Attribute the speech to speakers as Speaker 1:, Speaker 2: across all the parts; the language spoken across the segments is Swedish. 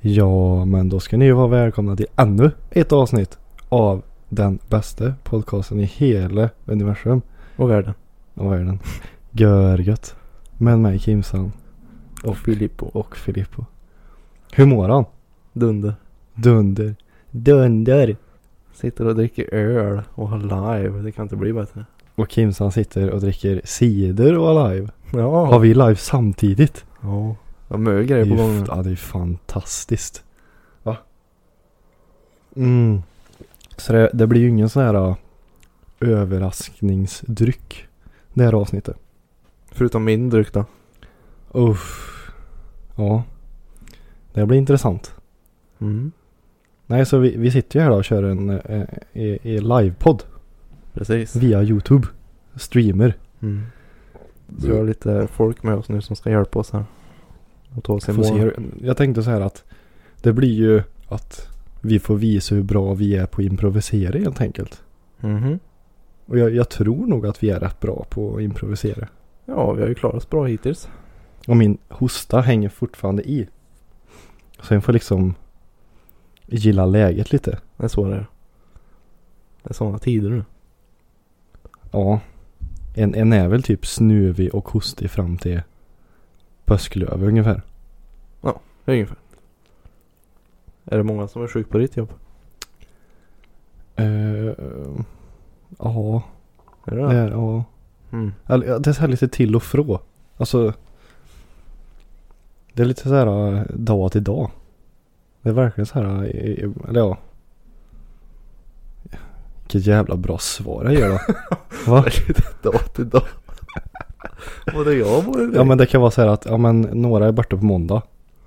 Speaker 1: Ja, men då ska ni vara välkomna till ännu ett avsnitt av den bästa podcasten i hela universum
Speaker 2: Och världen.
Speaker 1: och världen. Görgött. Med mig Kimsan
Speaker 2: Och Filippo.
Speaker 1: och Filippo. Hur mår han?
Speaker 2: Dunder.
Speaker 1: Dunder. Dunder.
Speaker 2: Sitter och dricker öl och har live. Det kan inte bli bättre.
Speaker 1: Och Kimsan sitter och dricker cider och har live.
Speaker 2: Ja.
Speaker 1: Har vi live samtidigt?
Speaker 2: Ja. Vad mycket
Speaker 1: Det är
Speaker 2: grejer på
Speaker 1: ju
Speaker 2: gång.
Speaker 1: f-
Speaker 2: nu.
Speaker 1: Ja, det är ju fantastiskt. Va? Mm. Så det, det blir ju ingen sån här ja, överraskningsdryck. Det här avsnittet.
Speaker 2: Förutom min dryck då.
Speaker 1: Uff. Ja. Det blir intressant.
Speaker 2: Mm.
Speaker 1: Nej, så vi, vi sitter ju här då och kör en eh, i, i livepodd
Speaker 2: Precis.
Speaker 1: via YouTube. Streamer.
Speaker 2: Mm. Så vi har lite folk med oss nu som ska hjälpa oss här. Och ta oss i
Speaker 1: Får se
Speaker 2: mål.
Speaker 1: hur, jag tänkte så här att det blir ju att vi får visa hur bra vi är på att improvisera helt enkelt.
Speaker 2: Mhm.
Speaker 1: Och jag, jag tror nog att vi är rätt bra på att improvisera.
Speaker 2: Ja, vi har ju klarat oss bra hittills.
Speaker 1: Och min hosta hänger fortfarande i. Så jag får liksom gilla läget lite.
Speaker 2: Det är så det är. Det är sådana tider nu.
Speaker 1: Ja. En, en är väl typ snuvig och hostig fram till påsklöv ungefär.
Speaker 2: Ungefär. Är det många som är sjuka på ditt jobb?
Speaker 1: Eh, Ja,
Speaker 2: Är det
Speaker 1: det
Speaker 2: det?
Speaker 1: är, ja.
Speaker 2: Mm.
Speaker 1: Eller, ja, Det är så här lite till och frå. Alltså. Det är lite så här eh, dag till dag. Det är verkligen så här. eh, eh, Eller ja. Vilket jävla bra svar jag gör då. Va?
Speaker 2: Dag till dag. Både jag och både
Speaker 1: Ja men det kan vara så här att ja, men några är borta på måndag.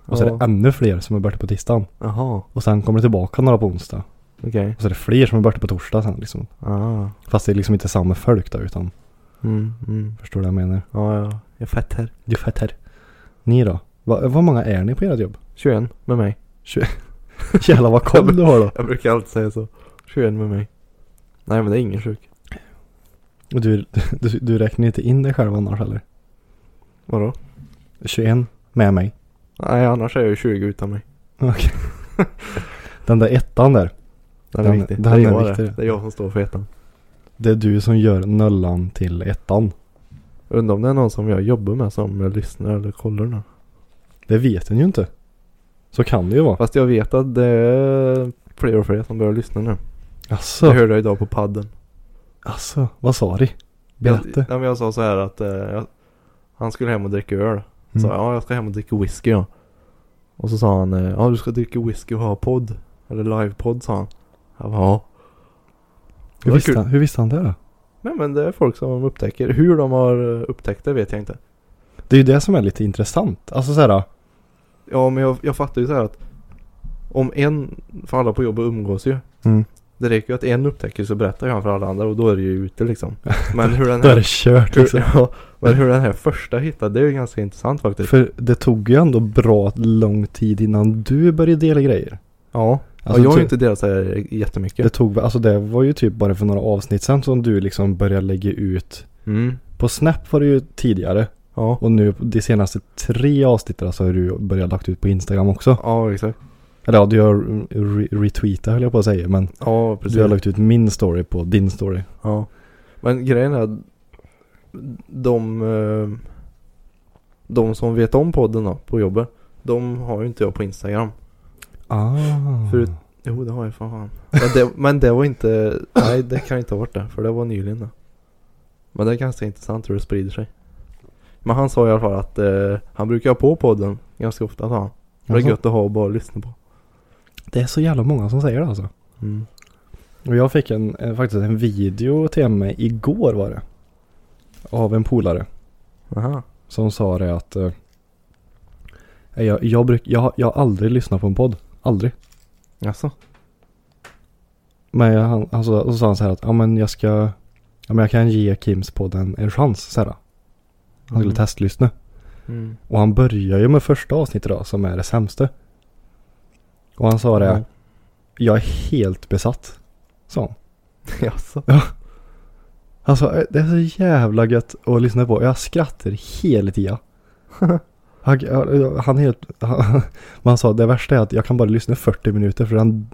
Speaker 1: Och så är det ännu fler som är borta på tisdagen.
Speaker 2: Jaha,
Speaker 1: Och sen kommer det tillbaka några på onsdag.
Speaker 2: okej.
Speaker 1: Och så är det fler som är borta på torsdag sen liksom.
Speaker 2: Ah.
Speaker 1: Fast det är liksom inte samma folk då utan.
Speaker 2: Mm, mm.
Speaker 1: Förstår du vad jag menar?
Speaker 2: Ja, ja. Jag fattar.
Speaker 1: Du fattar. Ni då? Va, vad många är ni på ert jobb?
Speaker 2: 21 med mig.
Speaker 1: Jävlar vad koll du har då.
Speaker 2: Jag brukar alltid säga så. 21 med mig. Nej men det är ingen sjuk.
Speaker 1: Och du, du, du räknar inte in dig själv annars eller?
Speaker 2: Vadå?
Speaker 1: 21 med mig.
Speaker 2: Nej annars är jag ju 20 utan mig.
Speaker 1: Den där ettan där.
Speaker 2: Den,
Speaker 1: Den-
Speaker 2: är viktig.
Speaker 1: den
Speaker 2: det
Speaker 1: är
Speaker 2: jag
Speaker 1: viktig,
Speaker 2: Det.
Speaker 1: ja.
Speaker 2: det är jag som står för ettan.
Speaker 1: Det är du som gör nollan till ettan.
Speaker 2: Undrar om det är någon som jag jobbar med som lyssnar eller kollar nu.
Speaker 1: Det vet den ju inte. Så kan det ju vara.
Speaker 2: Fast jag vet att det är fler och fler som börjar lyssna nu.
Speaker 1: Asså.
Speaker 2: Jag hörde det idag på padden.
Speaker 1: Alltså, vad sa du?
Speaker 2: Jag,
Speaker 1: Berätta.
Speaker 2: nej, men jag sa så här att eh, jag, han skulle hem och dricka öl. Så
Speaker 1: Mm.
Speaker 2: ja, jag ska hem och dricka whisky ja. Och så sa han, eh, ja du ska dricka whisky och ha podd. Eller livepodd sa han. Jag bara, ja. Det
Speaker 1: Hur
Speaker 2: var
Speaker 1: visste,
Speaker 2: kul.
Speaker 1: han, hur visste han det då?
Speaker 2: Nej men det är folk som upptäcker. Hur de har eh, upptäckt det vet jag inte.
Speaker 1: Det är ju det som är lite intressant. Alltså så här,
Speaker 2: Ja men jag, jag fattar ju så här att om en, för alla på jobbet umgås ju.
Speaker 1: Mm.
Speaker 2: Det räcker ju att en upptäcker så berättar ju han för alla andra och då är det ju ute liksom. Men hur den
Speaker 1: då är
Speaker 2: här,
Speaker 1: det kört liksom.
Speaker 2: hur, ja, men hur den här första hittade, det är ju ganska intressant faktiskt.
Speaker 1: För det tog ju ändå bra lång tid innan du började dela grejer.
Speaker 2: Ja,
Speaker 1: Alltså,
Speaker 2: ja jag har
Speaker 1: ty-
Speaker 2: ju inte delat så här jättemycket.
Speaker 1: Det tog, alltså det var ju typ bara för några avsnitt sen som du liksom började lägga ut.
Speaker 2: Mm.
Speaker 1: På Snap var det ju tidigare.
Speaker 2: Ja.
Speaker 1: Och nu de senaste tre avsnitten så har du börjat lagt ut på Instagram också.
Speaker 2: Ja, exakt.
Speaker 1: Eller ja, du har re- retweetat höll jag på att säga. Men
Speaker 2: Ja, precis.
Speaker 1: du har lagt ut min story på din story.
Speaker 2: Ja. Men grejen är att de, eh, de som vet om podden då, på jobbet, de har ju inte jag på Instagram.
Speaker 1: Ah.
Speaker 2: Förut- Jo, det har jag för fan. Men det, men det var inte, nej det kan inte ha varit det, för det var nyligen då. Men det är ganska intressant hur det sprider sig. Men han sa i alla fall att eh, han brukar ha på podden ganska ofta sa han. Det är
Speaker 1: Alltså,
Speaker 2: gött att ha och bara lyssna på.
Speaker 1: det är så jävla många som säger det alltså.
Speaker 2: Mm.
Speaker 1: Och jag fick en, eh, faktiskt en video till mig igår var det. Av en polare.
Speaker 2: Aha.
Speaker 1: Som sa det att eh, Nej, Jag, jag, bruk, jag, har- jag har aldrig lyssnat på en podd. Aldrig.
Speaker 2: Jaså?
Speaker 1: Men jag, han, han, så, så sa han så här att ja men jag ska, ja men jag kan ge Kims podd en, en chans så här. Han skulle testlyssna.
Speaker 2: Mm.
Speaker 1: Och han börjar ju med första avsnittet då som är det sämsta. Och han sa det,
Speaker 2: Mm.
Speaker 1: jag är helt besatt. Sa han.
Speaker 2: Jaså?
Speaker 1: Han sa, "Eh, det är så jävla gött att lyssna på. Jag skrattar hela tiden. Han, han- han är helt, han, men han sa det värsta är att jag kan bara lyssna 40 minuter för han,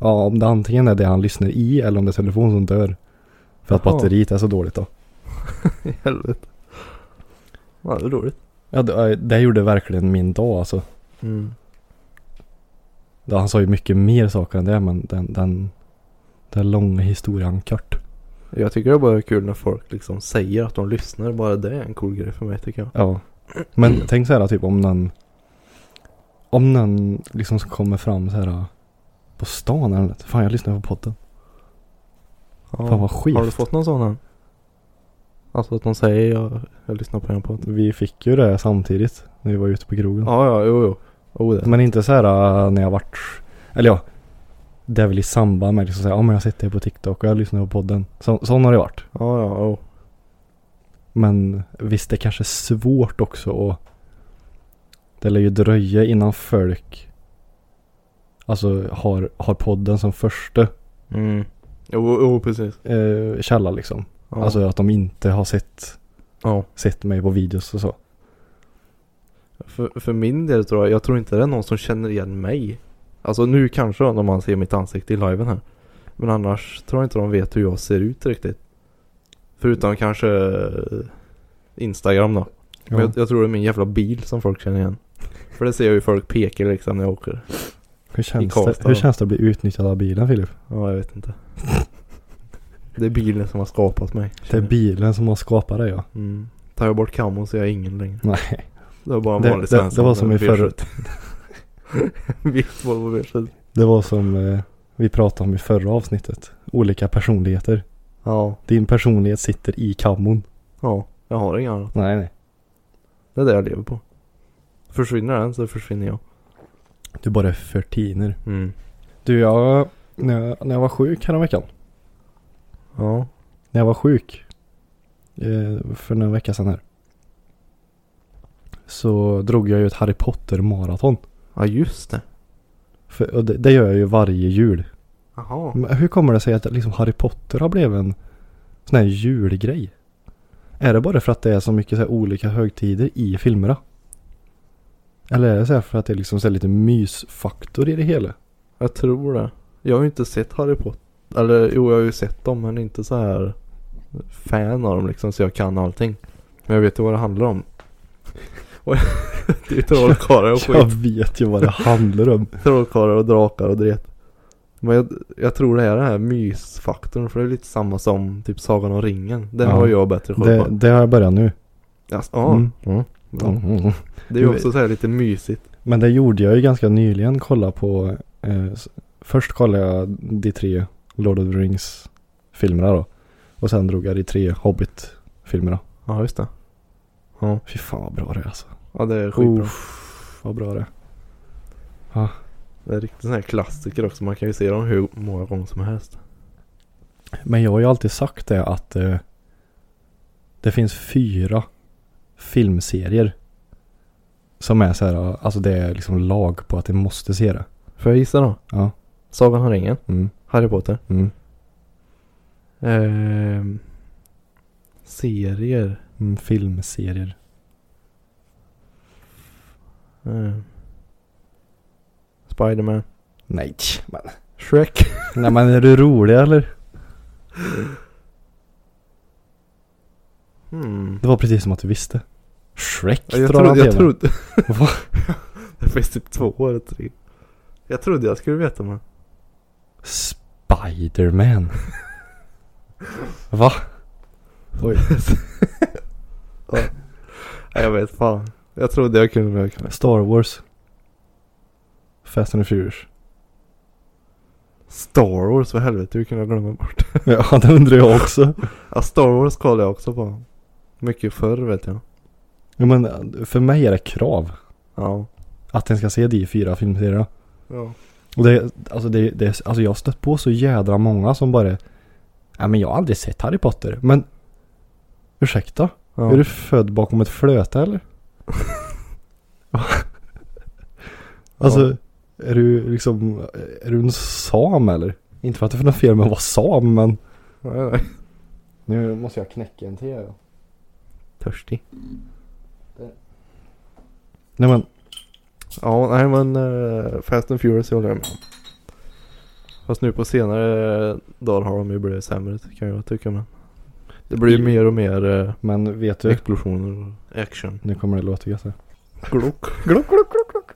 Speaker 1: ja om det antingen är det han lyssnar i eller om det är telefonen som dör. För att
Speaker 2: Jaha.
Speaker 1: batteriet är så dåligt då.
Speaker 2: I helvete. Ja, det är roligt.
Speaker 1: Ja, det, eh, det gjorde verkligen min dag alltså.
Speaker 2: Mm.
Speaker 1: Ja, Han sa ju mycket mer saker än det men den, den, den långa historien kort.
Speaker 2: Jag tycker det bara är kul när folk liksom säger att de lyssnar. Bara det är en cool grej för mig tycker jag.
Speaker 1: Ja. Men tänk så här typ om någon Om någon liksom som kommer fram så här På stan eller något. Fan jag lyssnar på podden.
Speaker 2: Ja.
Speaker 1: Fan vad skit.
Speaker 2: Har du fått någon sån än? Alltså att de säger jag, jag lyssnar på en podd.
Speaker 1: Vi fick ju det samtidigt när vi var ute på krogen.
Speaker 2: Ja, ja, jo, jo. Oh, det.
Speaker 1: Men inte så här äh, när jag vart Eller ja. Det är väl i samband med liksom säga, ja men jag sitter på TikTok och jag lyssnar på podden. Så, sån har det varit.
Speaker 2: Ja, ja, oh.
Speaker 1: Men visst det kanske är svårt också att Det lär ju dröja innan folk Alltså har, har podden som första
Speaker 2: Mm. Jo, jo, precis.
Speaker 1: eh, källa liksom.
Speaker 2: Ja.
Speaker 1: Alltså att de inte har sett,
Speaker 2: ja.
Speaker 1: sett mig på videos och så.
Speaker 2: För, för min del tror jag, jag tror inte det är någon som känner igen mig. Alltså nu kanske om man ser mitt ansikte i liven här. Men annars tror jag inte de vet hur jag ser ut riktigt. Förutom kanske eh, Instagram då. Men jag, jag tror det är min jävla bil som folk känner igen. För det ser jag ju folk pekar liksom när jag åker.
Speaker 1: hur, känns
Speaker 2: Karlstad
Speaker 1: det, hur
Speaker 2: då.
Speaker 1: känns det att bli utnyttjad av bilen Filip?
Speaker 2: Ja, jag vet inte. Det är bilen som har skapat mig.
Speaker 1: Det är
Speaker 2: känner jag.
Speaker 1: bilen som har skapat det ja.
Speaker 2: Mm. Tar jag bort kammon så är jag ingen längre.
Speaker 1: Nej.
Speaker 2: Det var bara en
Speaker 1: Det-
Speaker 2: vanlig
Speaker 1: det-
Speaker 2: svensson.
Speaker 1: det var som i förra-
Speaker 2: Vitt Volvo V70.
Speaker 1: Det var som eh, vi pratade om i förra avsnittet. Olika personligheter.
Speaker 2: Ja,
Speaker 1: Din personlighet sitter i kammon.
Speaker 2: ja. Jag har inga annat.
Speaker 1: Nej nej.
Speaker 2: Det är det jag lever på. Försvinner den så försvinner jag.
Speaker 1: Du bara förtiner.
Speaker 2: Mm.
Speaker 1: Du jag, när jag, när jag var sjuk häromveckan.
Speaker 2: Ja.
Speaker 1: När jag var sjuk. Eh, för några vecka sedan här. Så drog jag ju ett Harry Potter maraton.
Speaker 2: Ja, just det.
Speaker 1: För, och det, det gör jag ju varje jul.
Speaker 2: Jaha.
Speaker 1: Men hur kommer det sig att liksom Harry Potter har blivit en sån här julgrej? Är det bara för att det är så mycket så här olika högtider i filmerna? Eller är det så här för att det är liksom så här lite mysfaktor i det hela?
Speaker 2: Jag tror det. Jag har ju inte sett Harry Potter. Eller jo, jag har ju sett dem men inte så här fan av dem liksom så jag kan allting. Men jag vet ju vad det handlar om. Och det är ju trollkarlar och skit.
Speaker 1: Jag vet ju vad det handlar om.
Speaker 2: Trollkarlar och drakar och dret. Men jag, jag tror det är den här mysfaktorn för det är lite samma som typ Sagan om ringen. Den
Speaker 1: Ja.
Speaker 2: har jag bättre koll
Speaker 1: Det,
Speaker 2: på.
Speaker 1: det har jag börjat nu.
Speaker 2: Alltså, ja.
Speaker 1: Mm.
Speaker 2: Ja.
Speaker 1: Mm.
Speaker 2: Det är ju också så här lite mysigt.
Speaker 1: Men det gjorde jag ju ganska nyligen. Kolla på... Eh, s- först kollade jag de tre Lord of the Rings-filmerna då. Och sen drog jag de tre Hobbit-filmerna.
Speaker 2: Ja just det. Ja,
Speaker 1: Fy fan vad bra det är alltså.
Speaker 2: ja det är skitbra.
Speaker 1: Uff, vad bra det är.
Speaker 2: Det är riktigt sån här klassiker också. Man kan ju se dem hur många gånger som helst.
Speaker 1: Men jag har ju alltid sagt det att eh, det finns fyra filmserier. Som är så här, alltså det är liksom lag på att de måste se det.
Speaker 2: Får jag gissa då?
Speaker 1: Ja.
Speaker 2: Sagan om ringen.
Speaker 1: Mm,
Speaker 2: Harry Potter.
Speaker 1: mm,
Speaker 2: Ehm, serier.
Speaker 1: mm, filmserier.
Speaker 2: Ehm, Spiderman.
Speaker 1: Nej, men.
Speaker 2: Shrek.
Speaker 1: Nej men är du rolig eller?
Speaker 2: Hmm.
Speaker 1: Det var precis som att du visste. Shrek
Speaker 2: Ja, Jag
Speaker 1: drar han
Speaker 2: trodde, jag
Speaker 1: till
Speaker 2: trodde.
Speaker 1: med. Va?
Speaker 2: Det finns typ två eller tre. Jag trodde jag skulle veta men.
Speaker 1: Spiderman. Va? Oj.
Speaker 2: Nej, jag vet fan. Jag trodde jag kunde men jag kan inte.
Speaker 1: Star Wars. Fast and the Furious.
Speaker 2: Star Wars för helvete. Hur kunde jag glömma bort det?
Speaker 1: Ja det undrar jag också.
Speaker 2: Ja Star Wars kollade jag också på. Mycket förr vet jag.
Speaker 1: Ja, men för mig är det krav.
Speaker 2: Ja.
Speaker 1: Att den ska se de fyra filmserierna.
Speaker 2: Ja.
Speaker 1: Och det, alltså, det, det, alltså jag har stött på så jädra många som bara Nej men jag har aldrig sett Harry Potter. Men ursäkta?
Speaker 2: Ja.
Speaker 1: Är du född bakom ett flöte eller? alltså är du liksom Är du en sam eller? Inte för att det är något fel med att vara sam men
Speaker 2: Nej, nej.
Speaker 1: Nu måste jag knäcka en till här, ja.
Speaker 2: Törstig.
Speaker 1: Nej men
Speaker 2: Ja, nej men eh, Fast and Furious håller jag med om. Fast nu på senare dagar har de ju blivit sämre kan jag tycka men. Det blir ju mer och mer eh,
Speaker 1: Men vet du?
Speaker 2: explosioner och action.
Speaker 1: Nu kommer det låta gött här.
Speaker 2: Glock.
Speaker 1: Glock, glock, glock, glock.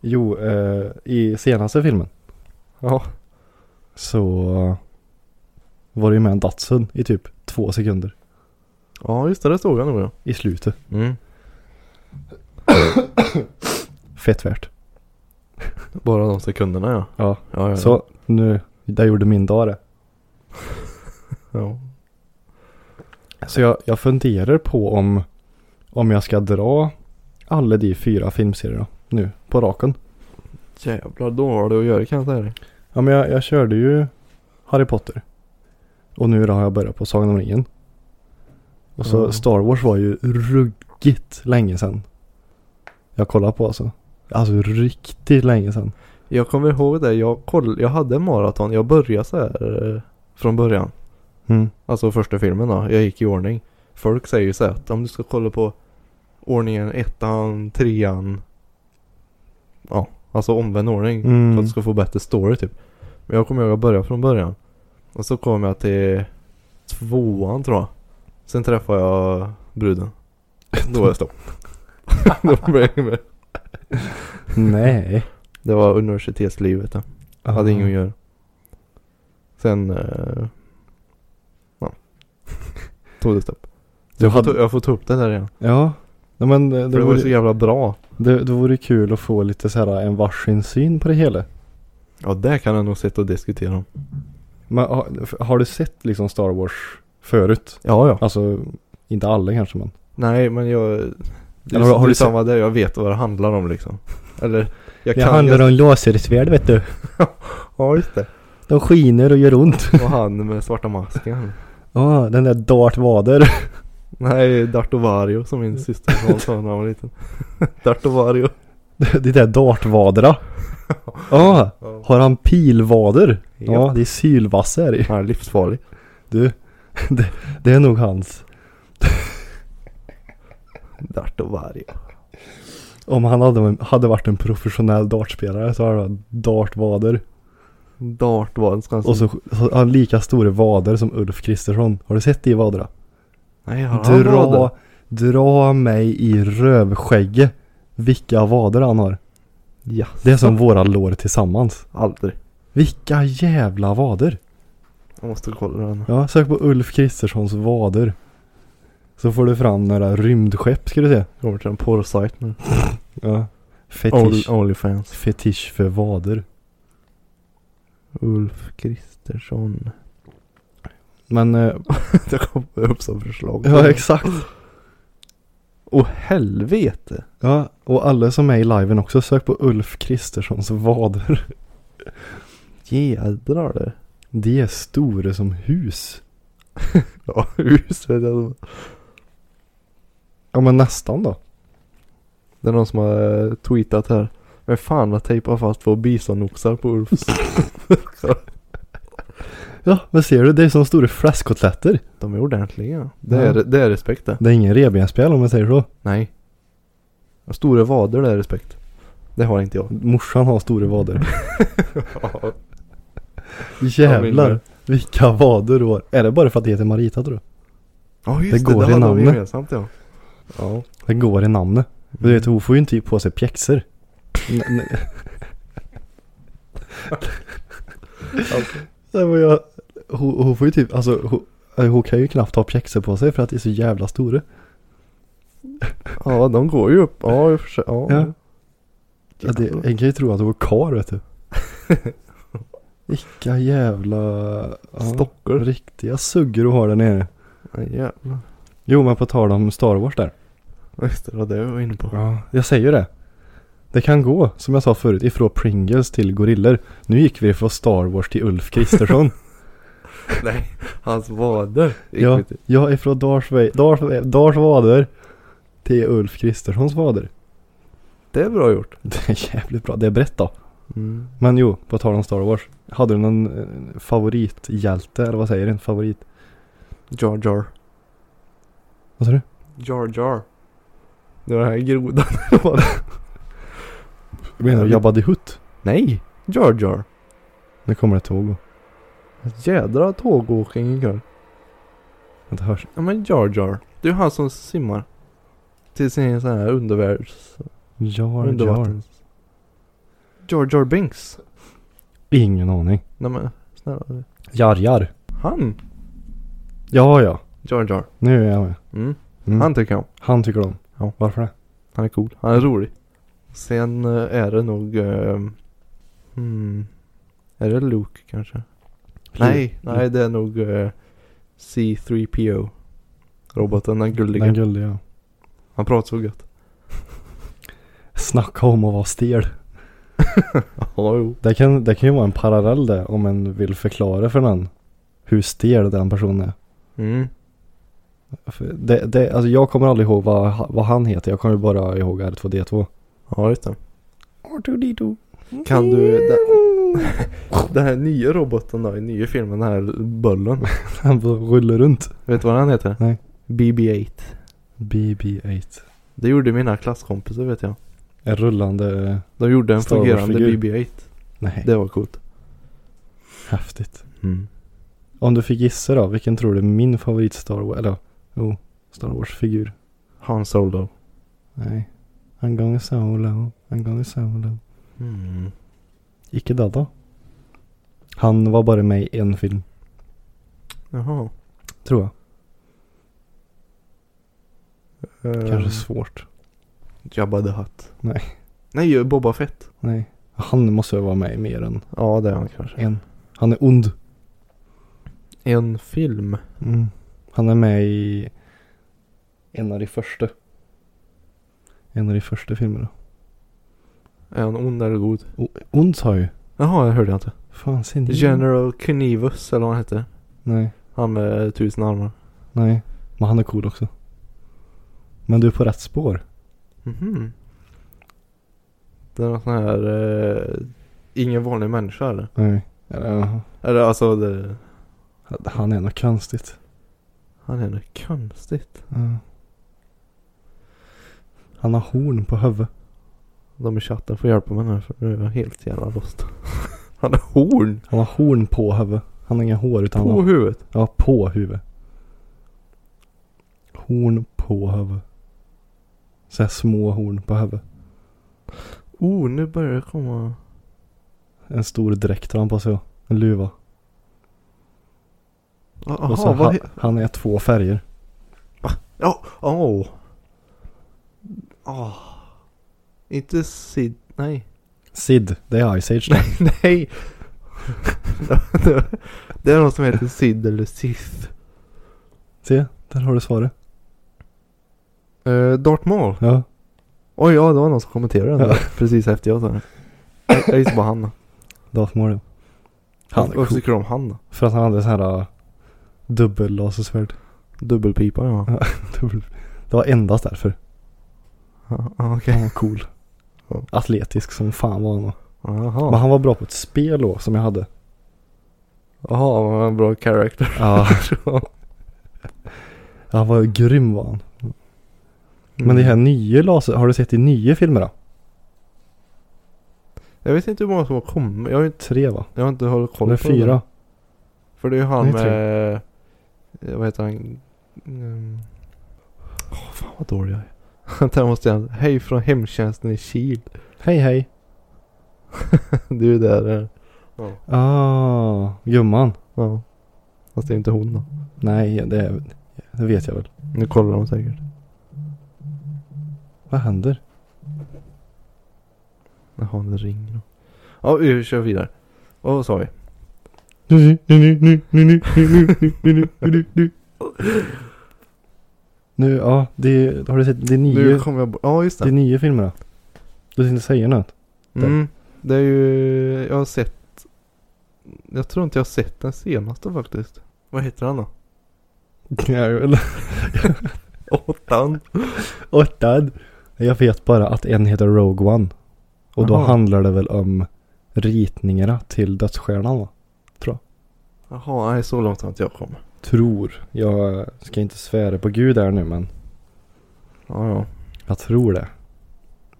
Speaker 1: Jo, eh, i senaste filmen
Speaker 2: Ja.
Speaker 1: så eh, var det ju med en Datsun i typ två sekunder
Speaker 2: Ja just det, det såg jag nog ja.
Speaker 1: i slutet.
Speaker 2: Mm.
Speaker 1: Fett värt.
Speaker 2: Bara de sekunderna ja.
Speaker 1: Ja.
Speaker 2: Ja, ja, ja.
Speaker 1: Så nu, där gjorde min dag det.
Speaker 2: Ja.
Speaker 1: Så jag, jag funderar på om, om jag ska dra alla de fyra filmserierna nu på raken.
Speaker 2: Jävlar, då har du att göra kan jag säga dig.
Speaker 1: Ja men jag, jag körde ju Harry Potter. Och nu då har jag börjat på Sagan om ringen. Och så
Speaker 2: Ja.
Speaker 1: Star Wars var ju ruggigt länge sedan. Jag kollar på alltså. Alltså riktigt länge sedan.
Speaker 2: Jag kommer ihåg det, jag, koll, jag hade maraton, jag började så här eh, från början.
Speaker 1: Mm.
Speaker 2: Alltså första filmen då, jag gick i ordning. Folk säger ju så här att om du ska kolla på ordningen ettan, trean. Ja, alltså omvänd ordning.
Speaker 1: Mm.
Speaker 2: För att du ska få bättre story typ. Men jag kommer ihåg att börja från början. Och så kom jag till tvåan tror jag. Sen träffade jag bruden. Då var det stopp. Då blev jag med.
Speaker 1: Nej.
Speaker 2: det var universitetslivet då. Jag
Speaker 1: Ah.
Speaker 2: hade inget att göra. Sen... eh, ja. Tog det stopp. Så
Speaker 1: Du
Speaker 2: jag, får
Speaker 1: hade-
Speaker 2: ta, jag får ta upp det där igen.
Speaker 1: Ja. Nej, men det,
Speaker 2: För
Speaker 1: det,
Speaker 2: det var ju så
Speaker 1: vore,
Speaker 2: jävla bra.
Speaker 1: det, det vore kul att få lite så här en varsin syn på det hela.
Speaker 2: Ja, det kan jag nog sitta och diskutera om.
Speaker 1: Men har, har du sett liksom Star Wars förut?
Speaker 2: Ja, ja.
Speaker 1: Alltså inte alla kanske men.
Speaker 2: Nej, men jag... Det är,
Speaker 1: Eller har- har
Speaker 2: det är
Speaker 1: du sett-
Speaker 2: samma där. Jag vet vad det handlar om liksom. Eller... Jag
Speaker 1: Det
Speaker 2: kan...
Speaker 1: handlar
Speaker 2: jag,
Speaker 1: om lasersvärd vet du.
Speaker 2: Ja, just det.
Speaker 1: De skiner och gör ont.
Speaker 2: Och han med svarta masken.
Speaker 1: Ja, den där Darth Vader.
Speaker 2: Nej, Dartovario som min syster sa när han var liten. Dartovario.
Speaker 1: Det där Darth Vadra. Ja, har han pilvader? Ja,
Speaker 2: Ja.
Speaker 1: det är sylvassa är det ju.
Speaker 2: Han är livsfarlig.
Speaker 1: Du, det, det är nog hans.
Speaker 2: Dartovario.
Speaker 1: Om han hade, hade varit en professionell dartspelare så hade han Darth Vader.
Speaker 2: Dart var den ska han
Speaker 1: Och så, så har han lika stora vader som Ulf Kristersson. Har du sett det i vadra?
Speaker 2: Nej, har han vader?
Speaker 1: Dra, dra mig i rövskägget. Vilka vader han har.
Speaker 2: Ja,
Speaker 1: Det är som våra lår tillsammans.
Speaker 2: aldrig.
Speaker 1: Vilka jävla vader.
Speaker 2: Jag måste kolla den.
Speaker 1: Ja, sök på Ulf Kristerssons vader. Så får du fram några rymdskepp ska du se.
Speaker 2: Kommer till en porrsajt nu.
Speaker 1: Ja. Fetisch.
Speaker 2: Only- Onlyfans.
Speaker 1: Fetisch för vader.
Speaker 2: Ulf Kristersson.
Speaker 1: Men, eh,
Speaker 2: Det kommer upp som förslag.
Speaker 1: ja exakt.
Speaker 2: Åh helvete.
Speaker 1: Ja, och alla som är i liven också, sök på Ulf Kristerssons vader.
Speaker 2: Jädrar det.
Speaker 1: De är stora som hus.
Speaker 2: Ja, hus vet jag.
Speaker 1: Ja men nästan då.
Speaker 2: Det är någon som har eh, tweetat här. Men fan har tejpat fast två bisonoxar på Ulfs.
Speaker 1: Ja, men ser du? Det är som stora fläskkotletter.
Speaker 2: De är ordentliga. Det är,
Speaker 1: Ja.
Speaker 2: det är respekt det.
Speaker 1: Det är ingen revbensspjäll om man säger så.
Speaker 2: Nej. Stora vader det är respekt. Det har inte jag.
Speaker 1: Morsan har stora vader.
Speaker 2: Ja,
Speaker 1: Jävlar.
Speaker 2: med.
Speaker 1: Vilka vader du har. Är det bara för att det heter Marita tror du?
Speaker 2: just det.
Speaker 1: Det går i
Speaker 2: det hade de
Speaker 1: namnet.
Speaker 2: gemensamt ja. Ja.
Speaker 1: Det går i namnet. Du vet hon får ju inte ge på sig pjäxor. N- n-
Speaker 2: typ-
Speaker 1: Nej men jag, hon, hon får ju typ, alltså hon, eh, hon kan ju knappt ha pjäxor på sig för att det är så jävla stora.
Speaker 2: Ja, de går ju upp. Ja, i och för sig. Ja.
Speaker 1: Ja. Ja, det, en kan ju tro att hon är karl vet du. Vilka jävla ja,
Speaker 2: Stockor.
Speaker 1: riktiga suggor hon har där nere.
Speaker 2: Ja, jävlar.
Speaker 1: Jo men på tal om Star Wars där.
Speaker 2: Just det, det var det jag var inne på.
Speaker 1: Ja. Jag säger ju det. Det kan gå, som jag sa förut, ifrån Pringles till gorillor. Nu gick vi från Star Wars till Ulf Kristersson.
Speaker 2: Nej, hans vader. gick
Speaker 1: ja,
Speaker 2: vi till.
Speaker 1: ja, ifrån Darth, Va- Darth, Va- Darth Vader till Ulf Kristerssons vader.
Speaker 2: Det är bra gjort.
Speaker 1: Det är jävligt bra, det är brett då.
Speaker 2: Mm.
Speaker 1: Men jo, på tal om Star Wars. Hade du någon eh, favorithjälte, eller vad säger du? En favorit?
Speaker 2: Jar Jar.
Speaker 1: Vad sa du?
Speaker 2: Jar Jar. Det var den här grodan.
Speaker 1: Menar du Eh, Jabba the Hutt?
Speaker 2: Nej, Jar Jar.
Speaker 1: Nu kommer det tåg och...
Speaker 2: Jädra tågåkning ikväll.
Speaker 1: Vänta, hörs.
Speaker 2: Ja men Jar Jar. Det är ju han som simmar. Till sin sån här undervärlds...
Speaker 1: Jar Jar.
Speaker 2: Undervattens. Jar Jar Binks.
Speaker 1: Ingen aning.
Speaker 2: Nej men snälla.
Speaker 1: Jar Jar.
Speaker 2: Han.
Speaker 1: Ja, ja.
Speaker 2: Jar Jar.
Speaker 1: Nu är jag med.
Speaker 2: Mm.
Speaker 1: Mm.
Speaker 2: Han tycker jag om.
Speaker 1: Han tycker om.
Speaker 2: Ja.
Speaker 1: Varför det?
Speaker 2: Han är cool. Han är rolig. Sen eh, är det nog... eh, hmm, är det Luke kanske? Nej,
Speaker 1: Lu-
Speaker 2: nej det är nog eh, C3PO. Roboten, den gulliga.
Speaker 1: Den gulliga.
Speaker 2: Han pratar så gött.
Speaker 1: Snacka om att vara stel.
Speaker 2: Ja, jo.
Speaker 1: Det kan, det kan ju vara en parallell det om en vill förklara för någon hur stel den personen är.
Speaker 2: Mm.
Speaker 1: För Det, det, alltså jag kommer aldrig ihåg vad, ha- vad han heter. Jag kommer bara ihåg R2D2.
Speaker 2: Ja, just det.
Speaker 1: R2D2.
Speaker 2: Kan du... Den, den här nya roboten då, i nya filmen, den här bullen.
Speaker 1: Han bara rullar runt.
Speaker 2: Vet du vad han heter?
Speaker 1: Nej.
Speaker 2: BB-8.
Speaker 1: BB-8.
Speaker 2: Det gjorde mina klasskompisar vet jag.
Speaker 1: En rullande...
Speaker 2: De gjorde en
Speaker 1: Star
Speaker 2: fungerande
Speaker 1: Wars-figur.
Speaker 2: BB-8.
Speaker 1: Nej,
Speaker 2: Det var coolt.
Speaker 1: häftigt. Om du fick gissa då, vilken tror du är min favorit Star Wars... Eller, jo, Star Wars-figur.
Speaker 2: Han Solo.
Speaker 1: Nej. I'm going solo, I'm going solo.
Speaker 2: Mm.
Speaker 1: Icke Dada. Han var bara med i en film,
Speaker 2: Jaha.
Speaker 1: tror jag. Kanske Mm.
Speaker 2: Kanske
Speaker 1: svårt.
Speaker 2: Eh, Jabba the Hutt.
Speaker 1: Nej.
Speaker 2: Nej, ju Boba Fett.
Speaker 1: Nej. Han måste ju vara med i mer än
Speaker 2: Ja, det är han kanske.
Speaker 1: en. Han är ond.
Speaker 2: En film.
Speaker 1: Mm. Han är med i en av de första. En av de första filmerna.
Speaker 2: Är han ond eller god?
Speaker 1: O- ond sa jag ju.
Speaker 2: Jaha, jag hörde inte.
Speaker 1: Fan, ser
Speaker 2: Mm.
Speaker 1: ni?
Speaker 2: General Knivus eller vad han hette.
Speaker 1: Nej,
Speaker 2: Han med tusen armar.
Speaker 1: nej. Men han är cool också. Men du är på rätt spår.
Speaker 2: Mhm. Det är någon sån här... Eh, ingen vanlig människa eller?
Speaker 1: Nej. Eller,
Speaker 2: Eller alltså det...
Speaker 1: han är något konstigt.
Speaker 2: Han är något konstigt.
Speaker 1: Ja. Han har horn på huvudet.
Speaker 2: De i chatten får hjälpa mig nu för nu är jag helt jävla lost. Han har horn
Speaker 1: Han har horn på huvudet. Han har inga hår utan han
Speaker 2: på
Speaker 1: har,
Speaker 2: huvudet.
Speaker 1: ja, på huvudet. Horn på huvudet. Så här små horn på huvudet.
Speaker 2: Oh, nu börjar det komma...
Speaker 1: En stor dräkt har han på sig. En luva.
Speaker 2: Jaha,
Speaker 1: och så
Speaker 2: vad...
Speaker 1: han,
Speaker 2: he-
Speaker 1: han är två färger.
Speaker 2: Ja, åh. Åh. Inte Sid... Nej.
Speaker 1: Sid, det är Ice Age det.
Speaker 2: Nej. det är någon som heter Sid eller Sith.
Speaker 1: Se, där har du svaret. Eh,
Speaker 2: Uh, Darth Maul.
Speaker 1: Ja.
Speaker 2: Oj, ja det var någon som kommenterade den
Speaker 1: Ja.
Speaker 2: där precis efter jag sa det. Jag- Jag gissar på han då.
Speaker 1: Darth Maul ja. Han är
Speaker 2: Varför
Speaker 1: cool.
Speaker 2: tycker du om han då?
Speaker 1: För att han hade så här uh, dubbel lasersvärd.
Speaker 2: Dubbelpipa ja.
Speaker 1: Ja. Dubbel- Det var endast därför.
Speaker 2: Ja, ja,
Speaker 1: Han
Speaker 2: Okej.
Speaker 1: var cool.
Speaker 2: Ja.
Speaker 1: Atletisk som fan var han. då. Men
Speaker 2: Jaha.
Speaker 1: han var bra på ett spel då som jag hade.
Speaker 2: Jaha, vad en bra character.
Speaker 1: Ja. han var grym var han. Men
Speaker 2: Mm.
Speaker 1: det här nya laser, har du sett i nya filmer då?
Speaker 2: Jag vet inte hur många som har kommit. Jag har inte,
Speaker 1: Tre va?
Speaker 2: jag har inte hållit koll
Speaker 1: Eller
Speaker 2: på det där.
Speaker 1: fyra?
Speaker 2: För det är ju han
Speaker 1: Nej, tre.
Speaker 2: med... eh, Vad heter han? Mm. Åh, fan vad dålig jag är. Vänta, jag måste igen. Hej från hemtjänsten i Kil.
Speaker 1: Hej hej.
Speaker 2: Det är ju där. eh,
Speaker 1: Ah, gumman.
Speaker 2: Ja. Fast det är inte hon då.
Speaker 1: Nej, det, det vet jag väl.
Speaker 2: Nu kollar de säkert.
Speaker 1: Vad händer?
Speaker 2: Jaha, det ringer då. Ja, vi kör vidare. Och vad sa vi?
Speaker 1: Nu, ja, det, har du sett de
Speaker 2: Nu
Speaker 1: nio,
Speaker 2: kommer jag bort. Ja, just
Speaker 1: de
Speaker 2: det.
Speaker 1: nio filmerna? Du inte säger något?
Speaker 2: Mm. Det är ju, jag har sett, jag tror inte jag har sett den senaste faktiskt. Vad heter han då?
Speaker 1: Eller?
Speaker 2: Åttan.
Speaker 1: Åttan. Jag vet bara att en heter Rogue One. Och då
Speaker 2: Jaha.
Speaker 1: handlar det väl om ritningarna till Dödsstjärnan va?
Speaker 2: Jaha, nej så långt har inte jag kommit.
Speaker 1: Tror. Jag ska inte svära på gud här nu men
Speaker 2: Ja, ja.
Speaker 1: jag tror det.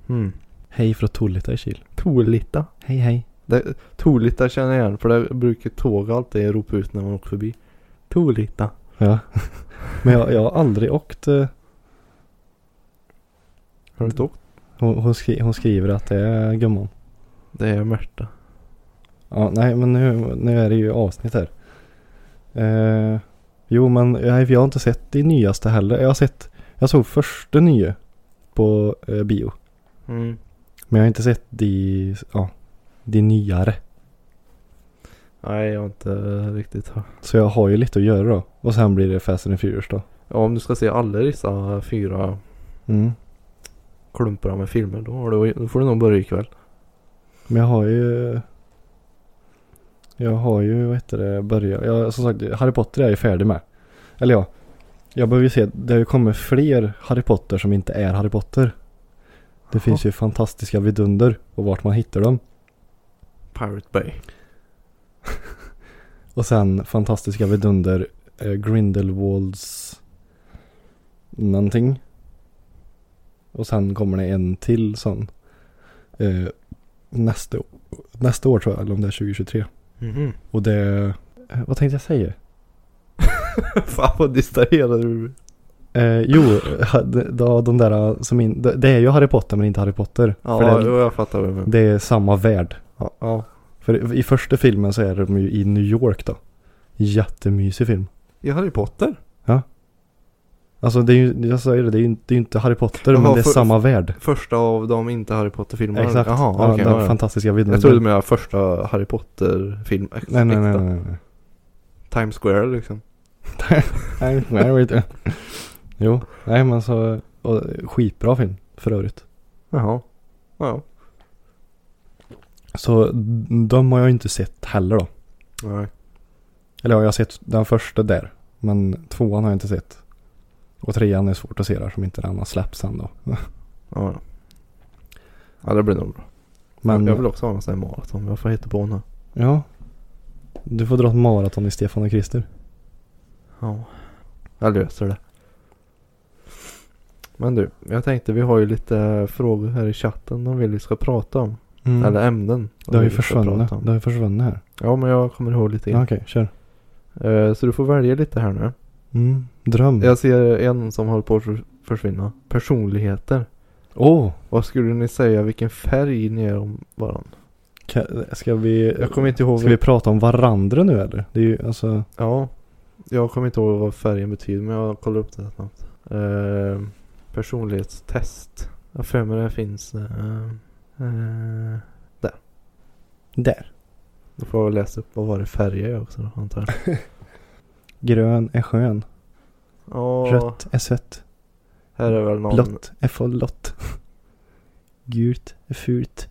Speaker 2: Mm.
Speaker 1: Hej från Tolita i Kil.
Speaker 2: Tolita.
Speaker 1: Hej hej.
Speaker 2: Det, Tolita känner jag igen för det brukar tåg alltid ropa ut när man åker förbi. Tolita.
Speaker 1: Ja. Men jag, jag har aldrig åkt. eh,
Speaker 2: Har du inte åkt?
Speaker 1: Hon, hon, skri, hon skriver att det är gumman.
Speaker 2: Det är Märta.
Speaker 1: Ja, nej men nu, nu är det ju avsnitt här. Eh, jo men jag, jag har inte sett det nyaste heller. Jag har sett, jag såg första nya på eh, bio.
Speaker 2: Mm.
Speaker 1: Men jag har inte sett de, ja, de nyare.
Speaker 2: Nej, jag har inte riktigt hört.
Speaker 1: Så jag har ju lite att göra då. Och sen blir det Fast and Furious då.
Speaker 2: Ja, om du ska se alla dessa fyra
Speaker 1: Mm.
Speaker 2: klumpar med filmer då, har du, då får du nog börja ikväll.
Speaker 1: Men jag har ju... Jag har ju, vad heter det, börjat. Jag, som sagt, Harry Potter är jag ju färdig med. Eller ja. Jag behöver ju se, det har ju kommit fler Harry Potter som inte är Harry Potter. Det finns ju fantastiska vidunder och vart man hittar dem.
Speaker 2: Pirate Bay.
Speaker 1: Och sen fantastiska vidunder eh, Grindelwalds någonting. Och sen kommer det en till sån. Eh, nästa, å- nästa år tror jag, eller om det är 2023.
Speaker 2: Mhm.
Speaker 1: Och det... Eh, vad tänkte jag säga?
Speaker 2: Fan vad distraherad du blir.
Speaker 1: Eh, jo, ha- de- de, de där eh, som in, det, det är ju Harry Potter men inte Harry Potter.
Speaker 2: Ja,
Speaker 1: för det,
Speaker 2: jo, jag fattar vad du menar.
Speaker 1: det är samma värld.
Speaker 2: Ja, ja.
Speaker 1: För i första filmen så är de ju i New York då. Jättemysig film.
Speaker 2: I Harry Potter?
Speaker 1: Alltså det är ju, jag sa ju det, det är ju inte, det är ju inte Harry Potter
Speaker 2: Jaha,
Speaker 1: men det är
Speaker 2: för-
Speaker 1: samma värld.
Speaker 2: Första av de inte Harry Potter-filmerna?
Speaker 1: Exakt.
Speaker 2: Jaha, okej.
Speaker 1: ja, den
Speaker 2: ja, ja.
Speaker 1: fantastiska videon.
Speaker 2: Jag trodde du menade första Harry Potter-film.
Speaker 1: Nej, nej, nej, nej, nej.
Speaker 2: Times Square liksom.
Speaker 1: Nej, nej, det var inte. Jo, nej men så, och, skitbra film för övrigt.
Speaker 2: Jaha. Ja, ja.
Speaker 1: Så de har jag inte sett heller då.
Speaker 2: Nej.
Speaker 1: Eller ja, jag har sett den första där. Men tvåan har jag inte sett. Och trean är svårt att se där som inte den har släppts än då.
Speaker 2: Ja, ja. ja, det blir nog bra.
Speaker 1: Men,
Speaker 2: Jag vill också ha en sån här maraton. Jag får hitta på en här.
Speaker 1: ja. Du får dra ett maraton i Stefan och Christer.
Speaker 2: Ja. Jag löser det. Men du, jag tänkte vi har ju lite frågor här i chatten de vill vi ska prata om.
Speaker 1: Mm.
Speaker 2: Eller ämnen. de
Speaker 1: det har ju
Speaker 2: vill vi ska
Speaker 1: försvunnit.
Speaker 2: prata om.
Speaker 1: Det har ju försvunnit här.
Speaker 2: Ja, men jag kommer ihåg lite.
Speaker 1: Ja,
Speaker 2: Ja.
Speaker 1: Okej, kör.
Speaker 2: Så du får välja lite här nu.
Speaker 1: Mm. Dröm. Åh!
Speaker 2: Jag ser en som håller på att förs- försvinna. Personligheter.
Speaker 1: Oh,
Speaker 2: Vad skulle ni säga vilken färg ni är om varandra?
Speaker 1: ka- ska vi...
Speaker 2: Jag kommer inte ihåg.
Speaker 1: Ska vi prata om varandra nu eller? Det är ju alltså...
Speaker 2: Ja. Jag kommer inte ihåg vad färgen betyder men jag kollar upp det snabbt. Eh, personlighetstest. Jag har för mig det finns. Eh, eh,
Speaker 1: Där.
Speaker 2: då får jag väl läsa upp vad var det färger jag också då, antar jag.
Speaker 1: Grön är skön.
Speaker 2: Ja.
Speaker 1: Rött är sött.
Speaker 2: Här är väl någon.
Speaker 1: Blått är fullott. Gult är fult.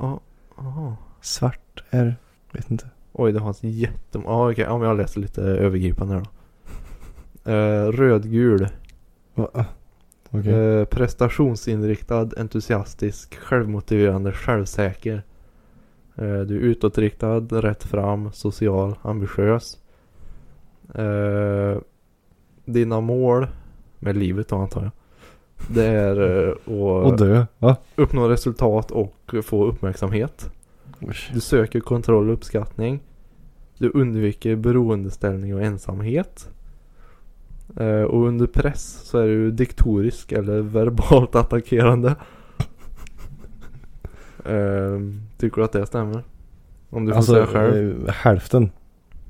Speaker 2: Ja. aha.
Speaker 1: Svart är... Vet inte.
Speaker 2: Oj, det har en jättemånga. Ja, okej. Ja, men jag läser lite övergripande här då. Eh, rödgul.
Speaker 1: Va? Ah, Okej.
Speaker 2: Eh, prestationsinriktad, entusiastisk, självmotiverande, självsäker. Eh, du är utåtriktad, rätt fram, social, ambitiös. Eh, dina mål med livet då antar jag. Det är eh,
Speaker 1: och
Speaker 2: att
Speaker 1: dö. Va?
Speaker 2: uppnå resultat och få uppmärksamhet. Du söker kontroll och uppskattning. Du undviker beroendeställning och ensamhet. Eh, och under press så är du diktorisk eller verbalt attackerande. eh, tycker du att det stämmer? Om du får
Speaker 1: Alltså
Speaker 2: säga själv? Mm.
Speaker 1: eh, hälften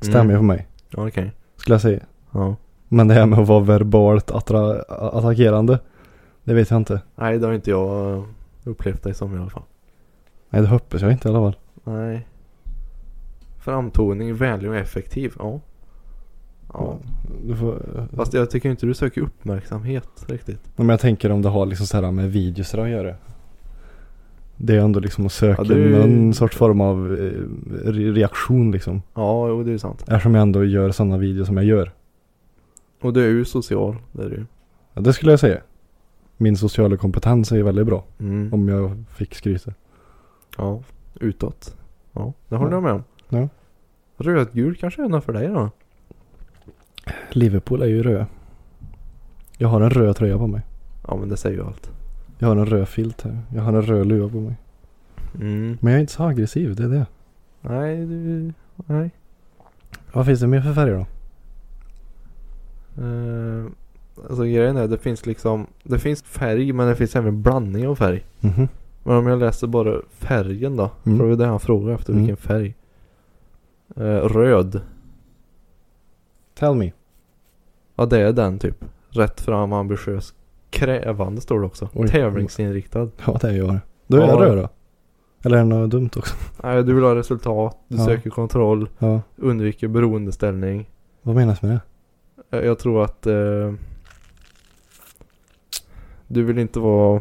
Speaker 1: stämmer ju för mig.
Speaker 2: Ja, Okej.
Speaker 1: Skulle jag säga.
Speaker 2: Ja.
Speaker 1: Men det här med att vara verbalt attra- attackerande. Det vet jag inte.
Speaker 2: Nej, det har inte jag eh, upplevt dig som i alla fall.
Speaker 1: Nej det hoppas jag inte i alla fall.
Speaker 2: Nej. Framtoning, vänlig och effektiv. Ja. Ja.
Speaker 1: Du får, eh,
Speaker 2: Fast jag tycker inte du söker uppmärksamhet riktigt.
Speaker 1: men jag tänker om det har liksom så här med videos att göra. Det är ändå liksom att söka
Speaker 2: Ja, det är ju-
Speaker 1: någon sorts form av eh, re- reaktion liksom.
Speaker 2: Ja, jo det är ju sant.
Speaker 1: Eftersom jag ändå gör sådana videor som jag gör.
Speaker 2: Och du är ju social, det är du ju.
Speaker 1: Ja, det skulle jag säga. Min sociala kompetens är ju väldigt bra.
Speaker 2: Mm.
Speaker 1: Om jag fick skryta.
Speaker 2: Ja, utåt. Ja, det håller
Speaker 1: Ja.
Speaker 2: jag med om.
Speaker 1: Ja. Rödgul
Speaker 2: Kanske är något för dig då?
Speaker 1: Liverpool är ju röd. Jag har en röd tröja på mig.
Speaker 2: Ja, men det säger ju allt.
Speaker 1: Jag har en röd filt här. Jag har en röd luva på mig.
Speaker 2: Mm.
Speaker 1: Men jag är inte så aggressiv, det är det.
Speaker 2: Nej, du... Nej.
Speaker 1: Vad finns det mer för färger då?
Speaker 2: Eh, alltså grejen är, det finns liksom... Det finns färg, men det finns även blandning av färg.
Speaker 1: Mhm.
Speaker 2: Men om jag läser bara färgen då.
Speaker 1: Mm.
Speaker 2: För det var det han frågade efter,
Speaker 1: Mm.
Speaker 2: vilken färg. Eh, röd.
Speaker 1: Tell me.
Speaker 2: Ja, det är den typ. Rätt fram, ambitiös, krävande står det också.
Speaker 1: Oj.
Speaker 2: Tävlingsinriktad.
Speaker 1: Ja, det är jag. Då är jag
Speaker 2: Ja.
Speaker 1: röd då. Eller är det något dumt också?
Speaker 2: Nej, du vill ha resultat, du
Speaker 1: Ja.
Speaker 2: söker kontroll,
Speaker 1: Ja.
Speaker 2: undviker beroendeställning.
Speaker 1: Vad menas med det?
Speaker 2: Jag jag tror att eh, du vill inte vara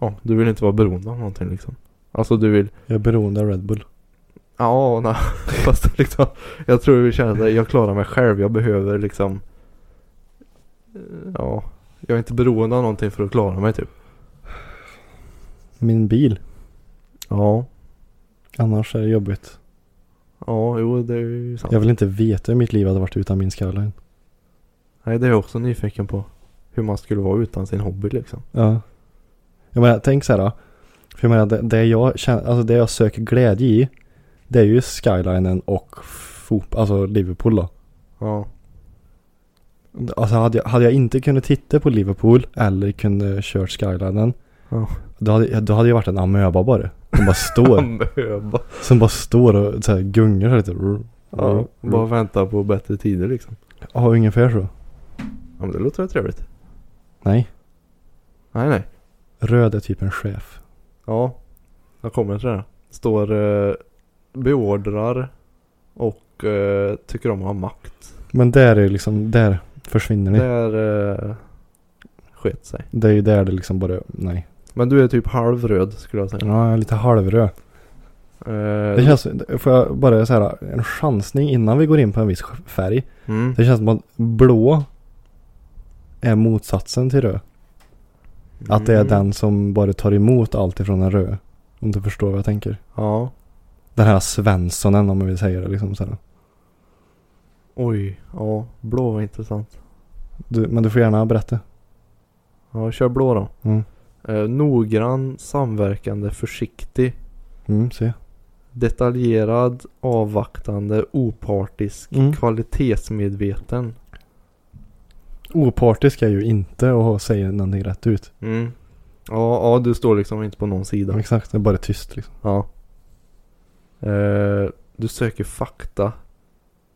Speaker 2: ja, du vill inte vara beroende av någonting liksom. Alltså du vill,
Speaker 1: Jag är beroende av Red Bull.
Speaker 2: ja nej. Fast liksom, jag tror du vill känna att jag klarar mig själv. Jag behöver liksom, eh, ja, jag är inte beroende av någonting för att klara mig typ.
Speaker 1: Min bil.
Speaker 2: Ja.
Speaker 1: Annars är det jobbigt.
Speaker 2: Ja, jo det är ju sant.
Speaker 1: Jag vill inte veta hur mitt liv hade varit utan min skyline.
Speaker 2: Nej, det är jag också nyfiken på. Hur man skulle vara utan sin hobby liksom.
Speaker 1: Ja. Jag menar, tänk så här då. För jag menar, det, det, jag känner, alltså det jag söker glädje i. Det är ju skylinen och fotboll, alltså Liverpool då.
Speaker 2: Ja.
Speaker 1: Alltså hade jag, hade jag inte kunnat titta på Liverpool eller kunde kört skylinen.
Speaker 2: Ja.
Speaker 1: Då, hade, jag- då hade jag varit en amöba bara. Som bara står.
Speaker 2: Amöba.
Speaker 1: som bara står och så här gungar så här lite. Rr,
Speaker 2: Ja,
Speaker 1: rr,
Speaker 2: bara
Speaker 1: rr.
Speaker 2: vänta på bättre tider liksom.
Speaker 1: Ja, ungefär så.
Speaker 2: Ja, men det låter väl trevligt.
Speaker 1: Nej.
Speaker 2: Nej, nej.
Speaker 1: Röd är typ en chef.
Speaker 2: Ja, jag kommer till det. Står eh, beordrar och eh, tycker om att ha makt.
Speaker 1: Men där är liksom, där försvinner ni.
Speaker 2: Där eh, sket sig.
Speaker 1: Det är ju där det liksom bara, nej.
Speaker 2: Men du är typ halvröd skulle jag säga.
Speaker 1: Ja, jag är lite halvröd.
Speaker 2: Eh,
Speaker 1: Mm. Det känns, får jag bara säga en chansning innan vi går in på en viss färg.
Speaker 2: mm,
Speaker 1: Det känns som att blå är motsatsen till röd. Att det är
Speaker 2: mm,
Speaker 1: den som bara tar emot allt ifrån en röd. Om du förstår vad jag tänker.
Speaker 2: Ja.
Speaker 1: Den här Svenssonen om man vill säga det liksom så här.
Speaker 2: Oj, ja. Blå var intressant.
Speaker 1: Du, men du får gärna berätta.
Speaker 2: Ja, kör blå då.
Speaker 1: Mm.
Speaker 2: Eh, noggrann, samverkande, försiktig.
Speaker 1: Mm, se.
Speaker 2: Detaljerad, avvaktande, opartisk,
Speaker 1: Mm.
Speaker 2: kvalitetsmedveten.
Speaker 1: Opartisk är ju inte och säger någonting rätt ut.
Speaker 2: Mm. Ja, ja, du står liksom inte på någon sida.
Speaker 1: Exakt, det är bara tyst liksom.
Speaker 2: Ja. Eh, du söker fakta.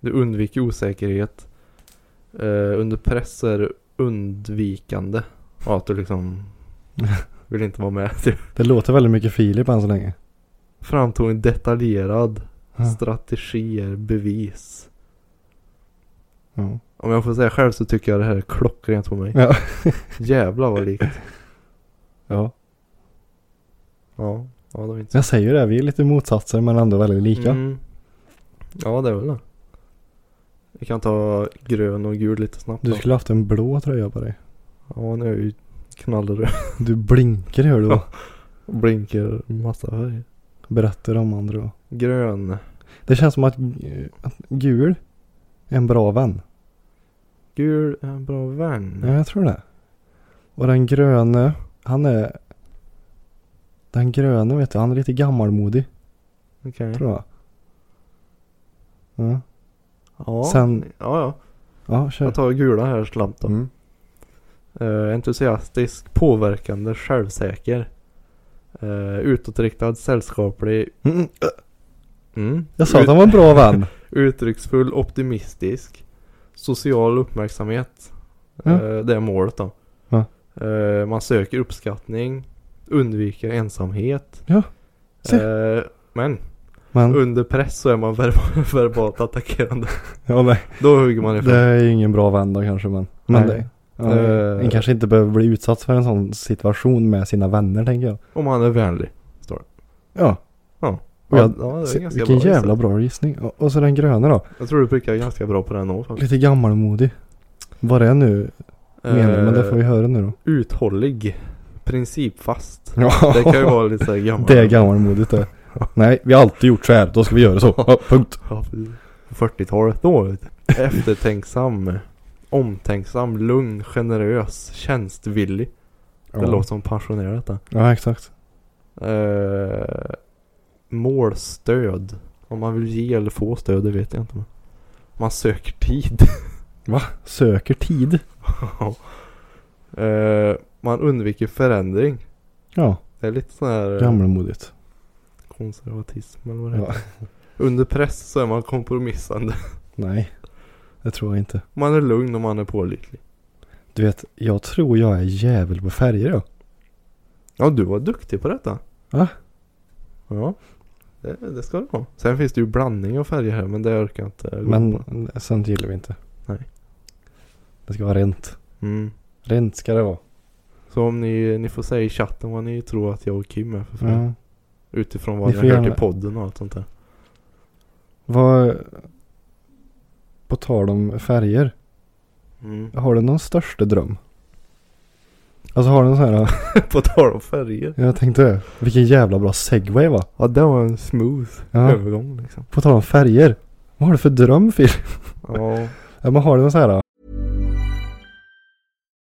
Speaker 2: Du undviker osäkerhet. Eh, under press är du undvikande. Ja, att du liksom vill inte vara med. Typ.
Speaker 1: Det låter väldigt mycket Filip än så länge.
Speaker 2: Framtoning detaljerad.
Speaker 1: Ja.
Speaker 2: Strategier, bevis.
Speaker 1: Ja.
Speaker 2: Om jag får säga själv så tycker jag det här är klockrent på mig.
Speaker 1: Ja.
Speaker 2: Jävlar vad likt.
Speaker 1: ja.
Speaker 2: Ja, ja det var inte så.
Speaker 1: Jag säger ju det, vi är lite motsatser men ändå väldigt lika.
Speaker 2: Mm. Ja, det är väl det. Vi kan ta grön och gul lite snabbt.
Speaker 1: Du
Speaker 2: då.
Speaker 1: skulle haft en blå tröja på dig.
Speaker 2: Ja, nu är jag ju knallröd.
Speaker 1: Du blinkar hör du då.
Speaker 2: Och Blinkar massa färger.
Speaker 1: Berättar om andra då.
Speaker 2: Grön.
Speaker 1: Det känns som att, eh, att gul är en bra vän.
Speaker 2: Gul är en bra vän.
Speaker 1: Ja, jag tror det. Och den gröne, han är... Den gröne vet du, han är lite gammalmodig
Speaker 2: Okej.
Speaker 1: tror jag. Ja,
Speaker 2: Ja.
Speaker 1: Sen-
Speaker 2: ja, ja.
Speaker 1: ja kör.
Speaker 2: Jag tar gula här slant då.
Speaker 1: Mm.
Speaker 2: Eh, entusiastisk, påverkande, självsäker. Eh, utåtriktad, sällskaplig.
Speaker 1: Mm.
Speaker 2: Mm.
Speaker 1: Jag sa att
Speaker 2: Ut-
Speaker 1: han var en bra vän.
Speaker 2: Uttrycksfull, optimistisk. Social uppmärksamhet.
Speaker 1: Ja.
Speaker 2: Eh, det är målet då.
Speaker 1: Ja.
Speaker 2: Eh, man söker uppskattning. Undviker ensamhet.
Speaker 1: Ja, se.
Speaker 2: Eh, men
Speaker 1: Men,
Speaker 2: under press så är man ver- verbalt attackerande.
Speaker 1: ja, nej.
Speaker 2: Då hugger man ifrån.
Speaker 1: Det är ingen bra vän då kanske men. Men
Speaker 2: Nej.
Speaker 1: det, Ja,
Speaker 2: Eh.
Speaker 1: en kanske inte behöver bli utsatt för en sån situation med sina vänner tänker jag.
Speaker 2: Om han är vänlig.
Speaker 1: Ja.
Speaker 2: Ja.
Speaker 1: Och jag,
Speaker 2: ja,
Speaker 1: se, vilken
Speaker 2: bra
Speaker 1: jävla
Speaker 2: gissat.
Speaker 1: bra gissning. Och, och så den gröna då.
Speaker 2: Jag tror du prickade ganska bra på den också. faktiskt.
Speaker 1: Lite gammalmodig. Vad det är nu menar, men det får vi höra nu då.
Speaker 2: Eh, Uthållig. Principfast.
Speaker 1: Ja.
Speaker 2: Det kan ju vara lite såhär gammalt.
Speaker 1: Det är gammalmodigt det. Nej, vi har alltid gjort så här. Då ska vi göra så. Ja, punkt.
Speaker 2: Ja, precis. På 40-talet då. vet du. Eftertänksam. Omtänksam. Lugn. Generös. Tjänstvillig.
Speaker 1: Ja,
Speaker 2: Det låter som pensionerat det.
Speaker 1: ja exakt.
Speaker 2: Eh, målstöd. Om man vill ge eller få stöd, det vet jag inte. Men man söker tid.
Speaker 1: Söker tid.
Speaker 2: eh, man undviker förändring.
Speaker 1: Ja,
Speaker 2: Det är lite sån här eh,
Speaker 1: gammalmodigt.
Speaker 2: konservatism eller vad det
Speaker 1: Ja.
Speaker 2: heter. Under press så är man kompromissande.
Speaker 1: Nej, det tror jag inte.
Speaker 2: Man är lugn och man är pålitlig.
Speaker 1: Du vet, jag tror jag är jävel på färger jag.
Speaker 2: Ja, du var duktig på detta.
Speaker 1: Va?
Speaker 2: Ja. Det, det ska du vara. Sen finns det ju blandning av färger här, men det orkar jag inte gå in
Speaker 1: Men
Speaker 2: på.
Speaker 1: sånt gillar vi inte.
Speaker 2: Nej.
Speaker 1: Det ska vara rent.
Speaker 2: Mm.
Speaker 1: Rent ska det vara.
Speaker 2: Så om ni, ni får säga i chatten vad ni tror att jag och Kim är för färg.
Speaker 1: Ja.
Speaker 2: Utifrån vad
Speaker 1: Ni
Speaker 2: ni,
Speaker 1: får
Speaker 2: har hört
Speaker 1: gärna-
Speaker 2: i podden och allt sånt där.
Speaker 1: Vad... På tal om färger.
Speaker 2: Mm.
Speaker 1: Har du någon största dröm? Alltså har du någon sån här...
Speaker 2: På tal om färger.
Speaker 1: Jag tänkte det. Vilken jävla bra segway va?
Speaker 2: Ja det var en smooth
Speaker 1: Ja.
Speaker 2: övergång liksom.
Speaker 1: På tal om färger. Vad har du för dröm Phil?
Speaker 2: Ja.
Speaker 1: Ja, men har du någon sån här...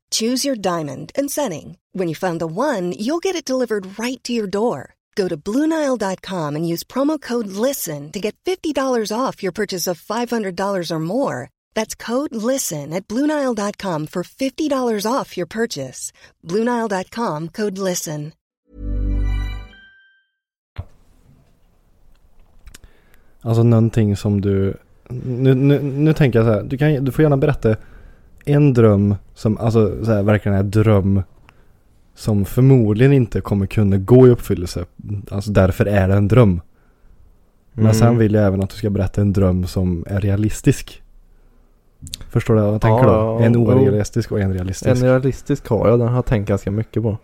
Speaker 3: Choose your diamond and setting. When you find the one, you'll get it delivered right to your door. Go to Bluenile.com and use promo code LISTEN to get $50 off your purchase of $500 or more. That's code LISTEN at Bluenile.com for $50 off your purchase. Bluenile.com code LISTEN.
Speaker 1: Alltså någonting som du... Nu, nu, nu tänker jag så här. Du, kan, du får gärna berätta en dröm som alltså så här, verkligen är dröm som förmodligen inte kommer kunna gå i uppfyllelse. Alltså därför är det en dröm. Men
Speaker 2: Mm.
Speaker 1: sen vill jag även att du ska berätta en dröm som är realistisk. Förstår du vad jag tänker då?
Speaker 2: Ja, ja,
Speaker 1: En
Speaker 2: jo.
Speaker 1: orealistisk och en realistisk.
Speaker 2: En realistisk har jag, den har jag tänkt ganska mycket på.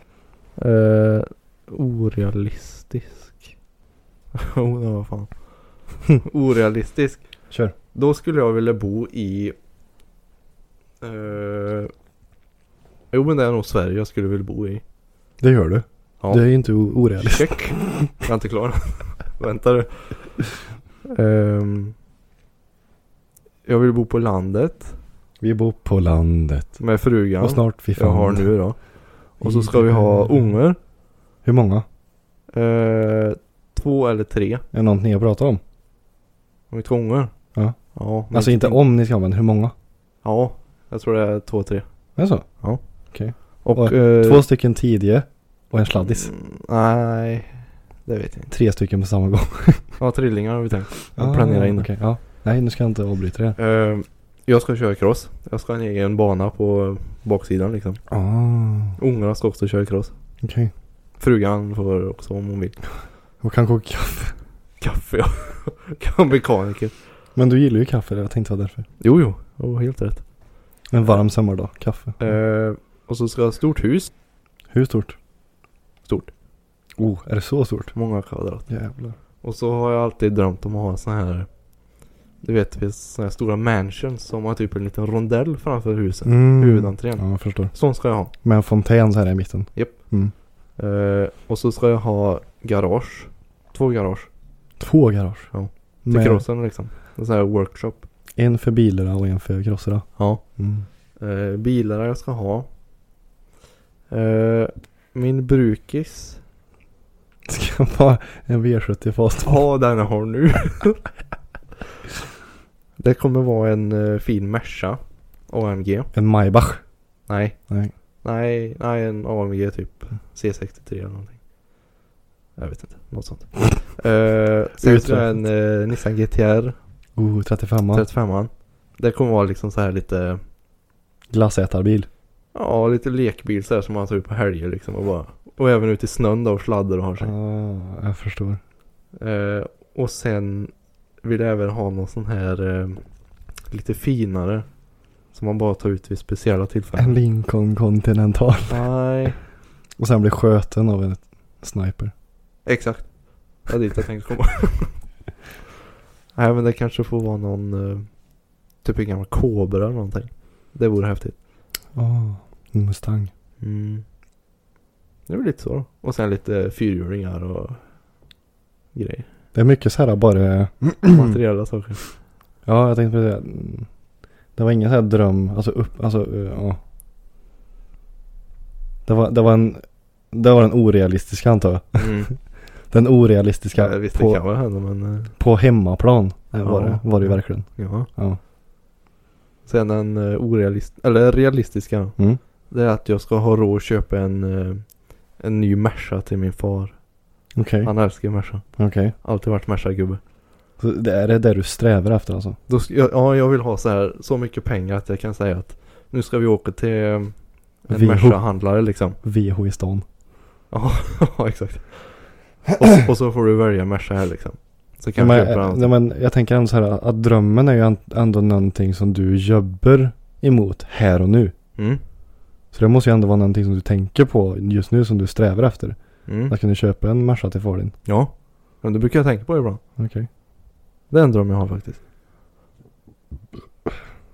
Speaker 2: Eh, orealistisk. oh, det var fan. orealistisk.
Speaker 1: Kör.
Speaker 2: Då skulle jag vilja bo i... eh, jo men det är nog Sverige jag skulle vilja bo i.
Speaker 1: Det gör du.
Speaker 2: Ja.
Speaker 1: Du är ju inte o- orealistisk.
Speaker 2: Check. Jag är inte klar. Vänta du. Ehm, jag vill bo på landet
Speaker 1: Vi bor på landet.
Speaker 2: med frugan.
Speaker 1: Och snart vi
Speaker 2: jag har
Speaker 1: fan. Mm.
Speaker 2: nu då. Och så ska vi ha ungar.
Speaker 1: Hur många?
Speaker 2: Eh, två eller tre.
Speaker 1: Är det något ni har pratat
Speaker 2: Mm.
Speaker 1: om?
Speaker 2: Om vi ska ha ungar.
Speaker 1: Ja.
Speaker 2: ja men- typ-
Speaker 1: Alltså inte om ni ska men hur många?
Speaker 2: Ja. Jag tror det är två, tre.
Speaker 1: Är det så?
Speaker 2: Och,
Speaker 1: Och
Speaker 2: eh,
Speaker 1: Två stycken tidige och en sladdis.
Speaker 2: mm, Nej. Det vet jag inte.
Speaker 1: Tre stycken på samma gång.
Speaker 2: Ja, trillingar har vi tänkt. Jag planerar in det.
Speaker 1: Okej, ja. Nej, nu ska jag inte avbryta det.
Speaker 2: Eh, jag ska köra cross. Jag ska ha en egen bana på baksidan liksom.
Speaker 1: Ah,
Speaker 2: Ungarna ska också köra cross.
Speaker 1: okej.
Speaker 2: Frugan får också om hon vill.
Speaker 1: Och kan koka kaffe.
Speaker 2: Kaffe ja. Kan mekaniker.
Speaker 1: Men du gillar ju kaffe, jag tänkte vara därför.
Speaker 2: Jo, jo. Oh, helt rätt.
Speaker 1: En varm sommardag, kaffe.
Speaker 2: Eh, och så ska jag ha ett stort hus.
Speaker 1: Hur stort?
Speaker 2: Stort.
Speaker 1: Oh, är det så stort?
Speaker 2: Många kvadrat.
Speaker 1: Jävlar.
Speaker 2: Och så har jag alltid drömt om att ha såna här. Du vet, det finns såna här stora mansions som har typ en liten rondell framför huset.
Speaker 1: Mm.
Speaker 2: Huvudentrén.
Speaker 1: Ja, jag förstår.
Speaker 2: Sån ska jag ha.
Speaker 1: Med en fontän så här i mitten.
Speaker 2: Eh, och så ska jag ha garage. Två garage.
Speaker 1: Två garage.
Speaker 2: Ja. Till
Speaker 1: Med
Speaker 2: crossen liksom. En sån här workshop.
Speaker 1: en för bilarna och en för krosserna.
Speaker 2: Ja.
Speaker 1: Mm.
Speaker 2: Eh, bilar jag ska ha. Eh, Min brukis.
Speaker 1: Ska vara en V70 fast.
Speaker 2: Ja, den jag har nu. det kommer vara en eh, fin Merca. AMG.
Speaker 1: En Maybach.
Speaker 2: Nej.
Speaker 1: Nej.
Speaker 2: Nej, nej en AMG typ C63 eller någonting. Jag vet inte, något sånt. uh, sen tror jag en eh, Nissan GTR
Speaker 1: Oh, 35
Speaker 2: 35an. Det kommer vara liksom så här lite,
Speaker 1: Glassätarbil.
Speaker 2: ja lite lekbil så här som man tar ut på helger liksom och bara. Och även ut i snön då och sladdar och har sig.
Speaker 1: Ah, jag förstår.
Speaker 2: Eh, och sen vill jag även ha någon sån här eh, lite finare. Som man bara tar ut vid speciella
Speaker 1: En
Speaker 2: tillfällen.
Speaker 1: Lincoln Continental.
Speaker 2: Nej,
Speaker 1: Och sen blir sköten av en sniper.
Speaker 2: exakt. Det är dit jag tänkte komma. Nej men det kanske får vara någon eh, typ en gammal kobra eller någonting. Det vore häftigt.
Speaker 1: Ah, en Mustang.
Speaker 2: Mm. Det är väl lite så då. Och sen lite fyrhjulingar och grejer.
Speaker 1: Det är mycket så här bara.
Speaker 2: Materiella saker.
Speaker 1: Ja, jag tänkte precis säga. mm, Det var ingen så här dröm. Alltså upp, alltså eh, ja. Det var, det var en. Det var den orealistiska antar jag.
Speaker 2: Mm.
Speaker 1: Den orealistiska
Speaker 2: ja, visst det
Speaker 1: på,
Speaker 2: kan väl hända men eh,
Speaker 1: på hemmaplan. Det var,
Speaker 2: Ja.
Speaker 1: det, var det ju verkligen.
Speaker 2: ja.
Speaker 1: Ja.
Speaker 2: Sen den eh, orealist eller realistiska.
Speaker 1: Mm.
Speaker 2: Det är att jag ska ha råd att köpa en, eh, en ny Merca till min far.
Speaker 1: Okej.
Speaker 2: Han älskar ju Merca.
Speaker 1: Mm. Okej.
Speaker 2: Alltid varit Merca-gubbe.
Speaker 1: Så det är det där du strävar efter alltså?
Speaker 2: Då ska jag, ja, jag vill ha så här så mycket pengar att jag kan säga att nu ska vi åka till eh, en
Speaker 1: Vi-
Speaker 2: Merca-handlare liksom.
Speaker 1: VH i stan.
Speaker 2: Ja, ja, exakt. Och så, och så får du välja Merca här liksom. Så
Speaker 1: Ja,
Speaker 2: kan jag
Speaker 1: men, eh,
Speaker 2: köpa
Speaker 1: ja,
Speaker 2: den.
Speaker 1: men jag tänker ändå så här att drömmen är ju an- ändå någonting som du jobbar emot här och nu.
Speaker 2: Mm,
Speaker 1: Så det måste ju ändå vara någonting som du tänker på just nu som du strävar efter.
Speaker 2: mm.
Speaker 1: Att kunna köpa en Merca till far din.
Speaker 2: Ja, men det brukar jag tänka på ibland.
Speaker 1: Okej.
Speaker 2: Det är en dröm jag har faktiskt.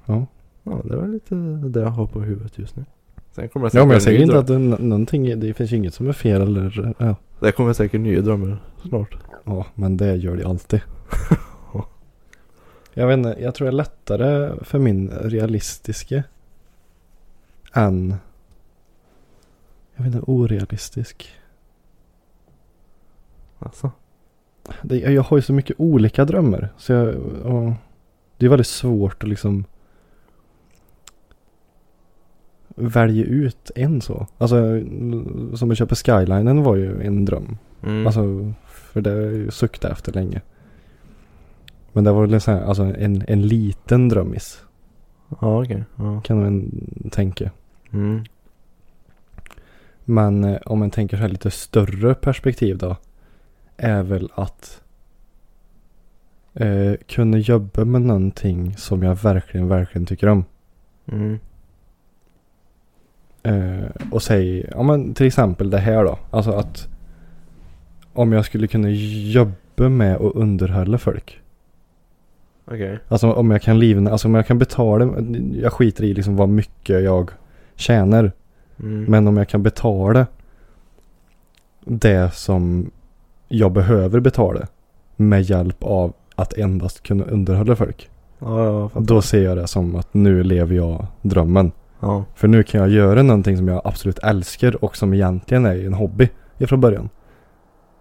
Speaker 1: Ja.
Speaker 2: Ja, det var lite det jag har på huvudet just nu. Sen kommer det
Speaker 1: Ja men jag
Speaker 2: säkert en
Speaker 1: säger
Speaker 2: ny
Speaker 1: inte att
Speaker 2: dröm.
Speaker 1: det, är n- någonting, det finns ju inget som är fel eller eh, ja.
Speaker 2: Det kommer säkert nya drömmar snart.
Speaker 1: Ja men det gör det alltid. jag vet inte, jag tror det är lättare för min realistiske än jag vet inte, orealistisk.
Speaker 2: Alltså.
Speaker 1: det, jag har ju så mycket olika drömmar. Så jag, ja, det är väldigt svårt att liksom välja ut en så. Alltså som att köpa skylinen var ju en dröm.
Speaker 2: Mm.
Speaker 1: Alltså för det har jag ju suktat efter länge. Men det var väl en sån här, alltså en, en liten drömmis.
Speaker 2: Ja, okej. Ja.
Speaker 1: Kan man tänka.
Speaker 2: Mm.
Speaker 1: Men eh, om man tänker så här lite större perspektiv då. Är väl att eh, kunna jobba med någonting som jag verkligen, verkligen tycker om.
Speaker 2: Mm.
Speaker 1: Eh, och säg, ja men till exempel det här då. Alltså att om jag skulle kunna jobba med och underhålla folk.
Speaker 2: Okej.
Speaker 1: Alltså om jag kan livna, alltså om jag kan betala, jag skiter i liksom vad mycket jag tjänar.
Speaker 2: Mm.
Speaker 1: Men om jag kan betala det som jag behöver betala med hjälp av att endast kunna underhålla folk.
Speaker 2: Ja, ja, jag fattar.
Speaker 1: Då ser jag det som att nu lever jag drömmen.
Speaker 2: Ja.
Speaker 1: För nu kan jag göra någonting som jag absolut älskar och som egentligen är en hobby ifrån början.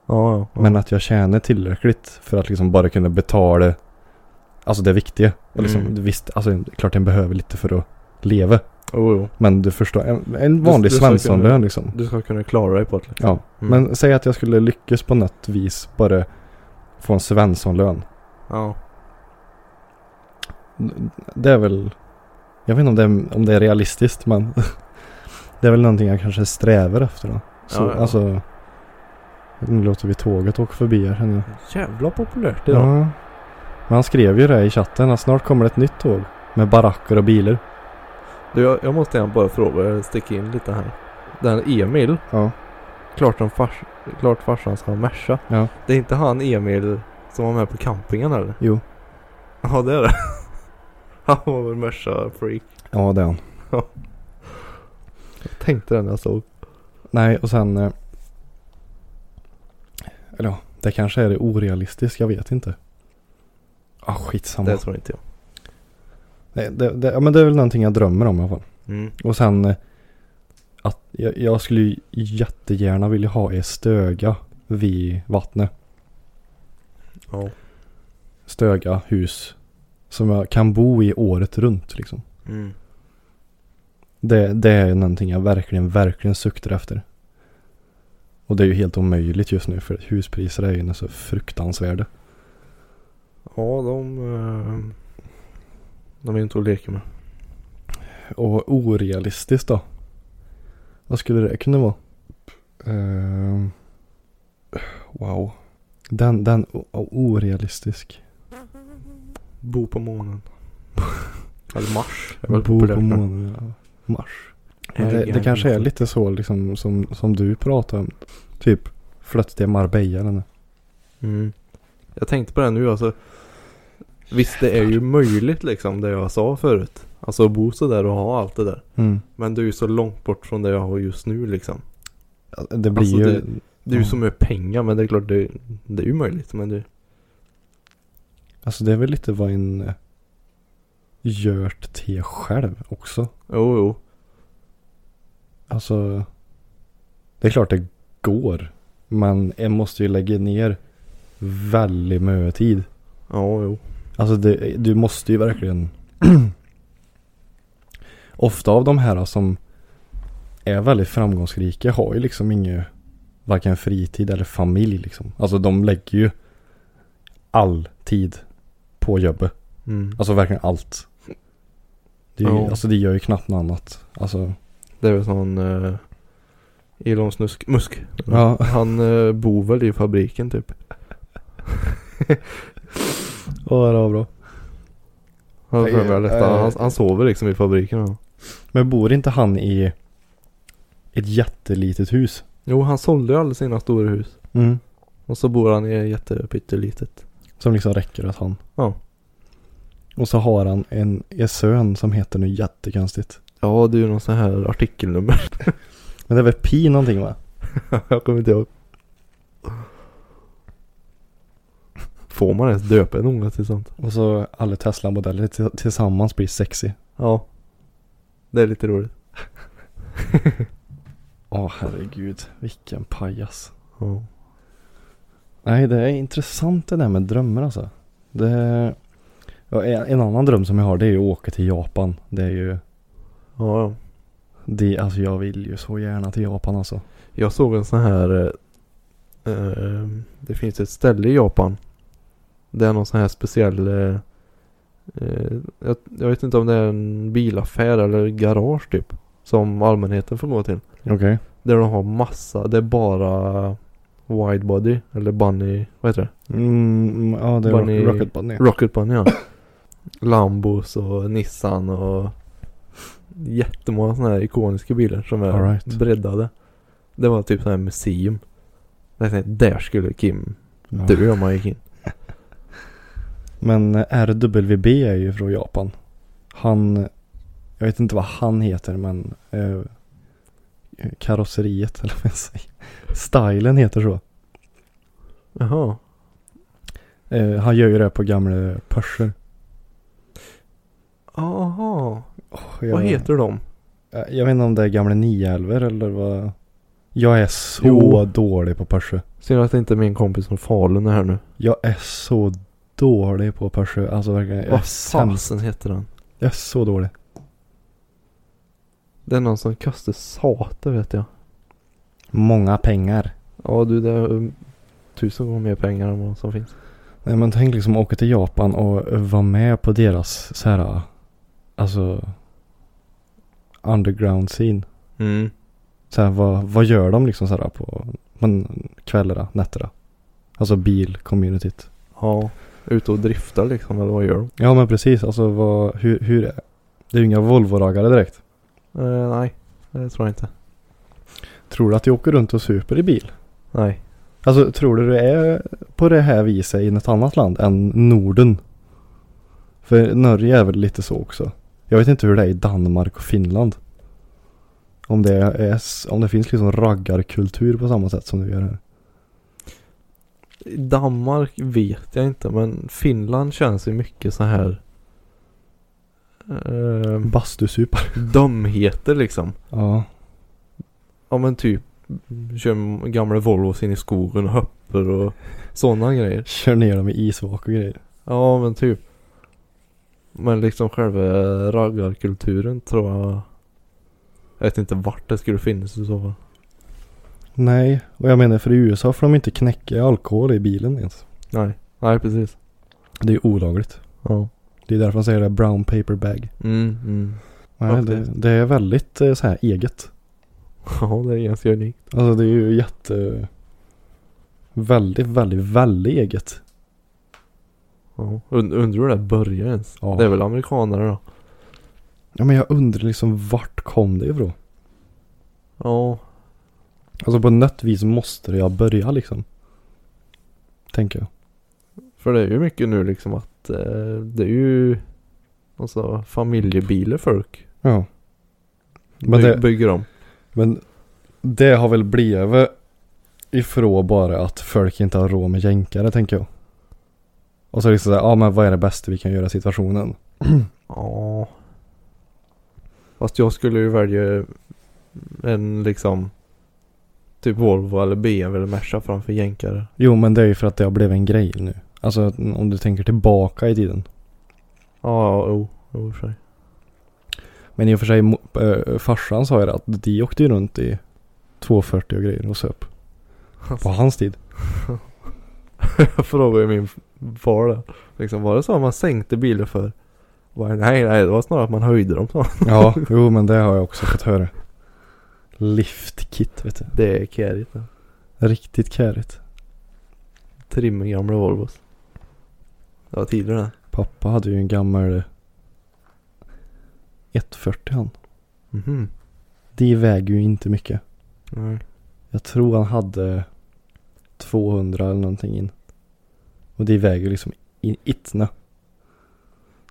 Speaker 2: Ja, ja. ja.
Speaker 1: Men att jag tjänar tillräckligt för att liksom bara kunna betala Alltså det viktiga. Och liksom,
Speaker 2: Mm.
Speaker 1: Visst, alltså klart jag behöver lite för att leva.
Speaker 2: Jo, jo.
Speaker 1: Men du förstår, en, en vanlig
Speaker 2: du ska kunna-
Speaker 1: svenssonlön liksom.
Speaker 2: Du ska kunna klara dig på det. liksom.
Speaker 1: Ja,
Speaker 2: Mm.
Speaker 1: men säg att jag skulle lyckas på något vis bara få en Svenssonlön.
Speaker 2: Ja.
Speaker 1: Det är väl, jag vet inte om det är, om det är realistiskt men det är väl någonting jag kanske strävar efter då. Så,
Speaker 2: Ja, ja.
Speaker 1: Alltså, nu låter vi tåget åka förbi här känner jag.
Speaker 2: Jävla populärt idag.
Speaker 1: Ja. Men han skrev ju det i chatten att snart kommer det ett nytt tåg med baracker och bilar.
Speaker 2: Du, jag, jag måste gärna bara fråga, jag sticker in lite här. Den Emil,
Speaker 1: Ja.
Speaker 2: klart, de fars, klart farsan ska ha Merca.
Speaker 1: Ja.
Speaker 2: Det är inte han Emil som var med på campingen eller?
Speaker 1: Jo.
Speaker 2: Ja, det är det. Han var väl Merca-freak.
Speaker 1: Ja det är han.
Speaker 2: Jag tänkte det när jag såg.
Speaker 1: Nej och sen. eh, Eller ja, det kanske är det orealistiskt, jag vet inte. Ah skitsamma.
Speaker 2: Det tror inte jag.
Speaker 1: Nej, det, det, ja, men det är väl någonting jag drömmer om i alla fall.
Speaker 2: Mm.
Speaker 1: Och sen eh, att jag, jag skulle ju jättegärna vilja ha en stöga vid vattnet.
Speaker 2: Ja.
Speaker 1: Stöga, hus. Som jag kan bo i året runt liksom.
Speaker 2: Mm.
Speaker 1: Det, det är någonting jag verkligen, verkligen suktar efter. Och det är ju helt omöjligt just nu för huspriser är ju så fruktansvärda.
Speaker 2: Ja, de... eh, De är ju inte att leka med.
Speaker 1: Och orealistiskt då? Vad skulle det kunna vara? Ehm, wow. Den, den o- o- orealistisk.
Speaker 2: Bo på månen. Eller Mars. är väl
Speaker 1: Bo på
Speaker 2: populärt nu.
Speaker 1: månen. Ja. Mars. Men det,
Speaker 2: Ägaren.
Speaker 1: det kanske är lite så liksom som, som du pratar om. Typ flöttiga Marbella eller nåt.
Speaker 2: Mm. Jag tänkte på det nu alltså. Visst det är ju möjligt liksom det jag sa förut. Alltså att bo sådär och ha allt det där.
Speaker 1: mm.
Speaker 2: Men det är ju så långt bort från det jag har just nu liksom.
Speaker 1: Ja, Det blir
Speaker 2: Alltså,
Speaker 1: ju...
Speaker 2: Det är ju
Speaker 1: Ja.
Speaker 2: så mycket pengar men det är klart det, det är ju möjligt. Men det,
Speaker 1: Alltså det är väl lite vad en eh, gör till själv också.
Speaker 2: jo jo.
Speaker 1: Alltså, det är klart det går. Men en måste ju lägga ner väldigt mycket tid.
Speaker 2: Ja jo.
Speaker 1: Alltså det, du måste ju verkligen. Ofta av de här som är väldigt framgångsrika har ju liksom ingen varken fritid eller familj liksom. Alltså de lägger ju all tid på jobbet.
Speaker 2: Mm.
Speaker 1: Alltså verkligen allt. Det, är ju,
Speaker 2: Ja.
Speaker 1: Alltså det gör ju knappt något annat. Alltså,
Speaker 2: Det är väl sån eh, Elon Snusk, Musk.
Speaker 1: Ja.
Speaker 2: Han eh, bor väl i fabriken typ.
Speaker 1: ja det var bra.
Speaker 2: Han,
Speaker 1: Nej, eh,
Speaker 2: han, han sover liksom i fabriken. Ja.
Speaker 1: Men bor inte han i ett jättelitet hus?
Speaker 2: Jo han sålde ju alla sina stora hus.
Speaker 1: Mm.
Speaker 2: Och så bor han i ett jättepyttelitet.
Speaker 1: Som liksom räcker åt han.
Speaker 2: Ja.
Speaker 1: Och så har han en, en son som heter nu jättekonstigt.
Speaker 2: Ja, det är ju någon sån här artikelnummer.
Speaker 1: Men det är väl Pi någonting va?
Speaker 2: jag kommer inte ihåg. Får man ens döpa en unge till sånt?
Speaker 1: Och så alla Tesla-modeller till, tillsammans blir sexy.
Speaker 2: Ja. Det är lite roligt.
Speaker 1: Åh herregud, vilken pajas.
Speaker 2: Ja.
Speaker 1: Nej, det är intressant det där med drömmar alltså. Det... Ja, en, en annan dröm som jag har det är ju att åka till Japan. Det är ju...
Speaker 2: ja. ja.
Speaker 1: Det, alltså jag vill ju så gärna till Japan alltså.
Speaker 2: Jag såg en sån här... eh, eh, det finns ett ställe i Japan. Det är någon sån här speciell... eh, eh, jag, jag vet inte om det är en bilaffär eller garage typ. Som allmänheten får gå till.
Speaker 1: Okej.
Speaker 2: Där de har massa, det är bara widebody eller bunny, vad heter det?
Speaker 1: Mm, ja det är
Speaker 2: Bunny-
Speaker 1: Rock, Rocket Bunny.
Speaker 2: Rocket bunny ja. Lambos och Nissan och jättemånga sådana här ikoniska bilar som är
Speaker 1: All right.
Speaker 2: breddade. Det var typ sådana här museum. Jag tänkte, där skulle Kim
Speaker 1: Ja.
Speaker 2: dö om han gick in.
Speaker 1: Men eh, RWB är ju från Japan. Han, jag vet inte vad han heter men eh, karosseriet eller vad jag säger. Stylen heter så.
Speaker 2: Jaha.
Speaker 1: Eh, han gör ju det på gamla Porsche.
Speaker 2: Aha. Vad heter de?
Speaker 1: Jag, Eh, jag vet inte om det är gamla 911 eller vad. Jag är så
Speaker 2: Jo.
Speaker 1: dålig på Porsche.
Speaker 2: Synd att det inte är min kompis från Falun är här nu.
Speaker 1: Jag är så dålig på Porsche. Alltså verkligen. Jag är
Speaker 2: Vad
Speaker 1: sämst.
Speaker 2: fasen heter han?
Speaker 1: Jag är så dålig.
Speaker 2: Det är någon som kastar sate vet jag.
Speaker 1: Många pengar.
Speaker 2: Ja du det är um, tusen gånger mer pengar än vad som finns.
Speaker 1: Nej men tänk liksom åka till Japan och vara med på deras så här, alltså underground scene.
Speaker 2: Mm.
Speaker 1: Så här, vad, vad gör de liksom så här på, men kvällarna, nätterna? Alltså bilcommunityt.
Speaker 2: Ja. Ute och driftar liksom eller vad gör de?
Speaker 1: Ja men precis, alltså vad, hur, hur är det? är ju inga Volvo-raggare direkt.
Speaker 2: Eh, nej, det tror jag inte.
Speaker 1: Tror du att de åker runt och super i bil?
Speaker 2: Nej.
Speaker 1: Alltså tror du det är på det här viset i något annat land än Norden? För Norge är väl lite så också. Jag vet inte hur det är i Danmark och Finland. Om det, är, s- om det finns liksom raggarkultur på samma sätt som du gör här.
Speaker 2: I Danmark vet jag inte men Finland känns ju mycket så här eh, Mm.
Speaker 1: Bastusupar.
Speaker 2: dumheter liksom.
Speaker 1: Ja.
Speaker 2: Ja men typ kör gamla Volvos in i skogen och höpper och sådana grejer.
Speaker 1: Kör ner dem i isvak och grejer.
Speaker 2: Ja men typ. Men liksom själva raggarkulturen tror jag. Jag vet inte vart det skulle finnas i så fall.
Speaker 1: Nej, och jag menar för i USA får de inte knäcka alkohol i bilen ens.
Speaker 2: Nej. Nej precis.
Speaker 1: Det är ju olagligt.
Speaker 2: Ja.
Speaker 1: Det är därför de säger det här brown paper bag.
Speaker 2: Mm, mm.
Speaker 1: Nej, det,
Speaker 2: Faktiskt.
Speaker 1: det är väldigt eh, så här eget.
Speaker 2: Ja det är ganska unikt.
Speaker 1: Alltså det är ju jätte... Väldigt, väldigt, väldigt eget.
Speaker 2: Ja. Und, undrar hur det här börjar ens.
Speaker 1: Ja.
Speaker 2: Det är väl amerikanare då.
Speaker 1: Ja men jag undrar liksom vart kom det ifrån?
Speaker 2: Ja.
Speaker 1: Alltså på något vis måste jag börja liksom. Tänker jag.
Speaker 2: För det är ju mycket nu liksom att eh, det är ju alltså familjebilar folk
Speaker 1: Ja. Men
Speaker 2: men
Speaker 1: det-
Speaker 2: bygger om.
Speaker 1: Men det har väl blivit ifrån bara att folk inte har råd med jänkare tänker jag. Och så liksom såhär, ja men vad är det bästa vi kan göra i situationen?
Speaker 2: Ja. Fast jag skulle ju välja en liksom typ Volvo eller BMW eller Merca framför jänkare.
Speaker 1: Jo men det är ju för att det har blivit en grej nu. Alltså att om du tänker tillbaka i tiden.
Speaker 2: Ja, ja, jo, jo, i och för sig.
Speaker 1: Men i och för sig, mo- eh, farsan sa ju det att de åkte ju runt i 240 och grejer och söp. På hans tid.
Speaker 2: Jag frågade ju min far det. Liksom var det så att man sänkte bilar för? Bara, nej, nej, det var snarare att man höjde dem så.
Speaker 1: Ja, jo men det har jag också fått höra. Liftkit vet du.
Speaker 2: Det är kärigt. ja.
Speaker 1: Riktigt kärigt.
Speaker 2: Trimmer gamla Volvos. Det var tidigare det.
Speaker 1: Pappa hade ju en gammal eh, 140 han.
Speaker 2: Mhm.
Speaker 1: De väger ju inte mycket.
Speaker 2: Nej.
Speaker 1: Jag tror han hade 200 eller någonting in. Och de väger ju liksom in itna.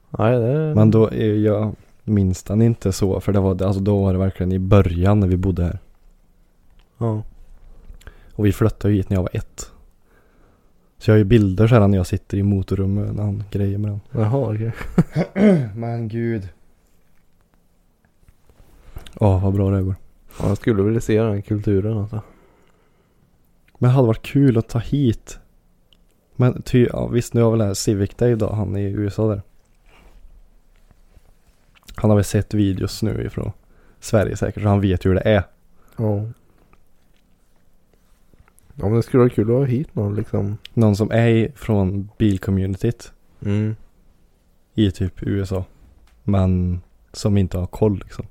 Speaker 2: Nej, det...
Speaker 1: Men då, är jag minns den inte så. För det var, alltså då var det verkligen i början när vi bodde här.
Speaker 2: Ja.
Speaker 1: Och vi flyttade ju hit när jag var ett. Så jag har ju bilder så här när jag sitter i motorrummet när han grejer med den.
Speaker 2: Jaha, okej.
Speaker 1: Men gud. Ja, vad bra det går.
Speaker 2: Ja, jag skulle vilja se den kulturen alltså.
Speaker 1: Men det hade varit kul att ta hit. Men ty, ja, visst nu har väl det här Civic Day idag, han är i USA där. Han har väl sett videos nu ifrån Sverige säkert, så han vet ju hur det är.
Speaker 2: Ja. Ja men det skulle vara kul att ha hit någon liksom.
Speaker 1: Någon som är från bilcommunityt
Speaker 2: Mm.
Speaker 1: i typ USA. Men som inte har koll liksom.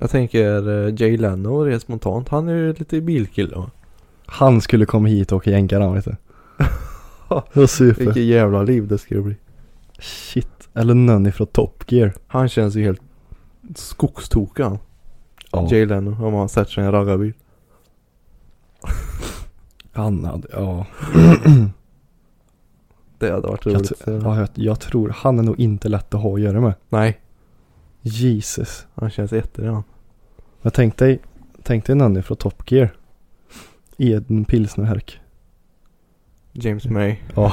Speaker 2: Jag tänker eh, Jay Leno rent spontant. Han är ju lite bilkille va?
Speaker 1: Han skulle komma hit och åka jänkare han vet du. Det var super.
Speaker 2: Vilket jävla liv det skulle bli.
Speaker 1: Shit. Eller någon ifrån Top Gear.
Speaker 2: Han känns ju helt skogstokig han. Jay Leno om han sätter sig i en raggarbil.
Speaker 1: Han hade, ja.
Speaker 2: Det hade varit
Speaker 1: Jag,
Speaker 2: roligt.
Speaker 1: tr- ja jag, jag tror, han är nog inte lätt att ha att göra med.
Speaker 2: Nej,
Speaker 1: Jesus.
Speaker 2: han känns jättebra han.
Speaker 1: Men tänk dig, tänk dig någon ifrån Top Gear. I en pilsnerhärk.
Speaker 2: James May.
Speaker 1: Ja.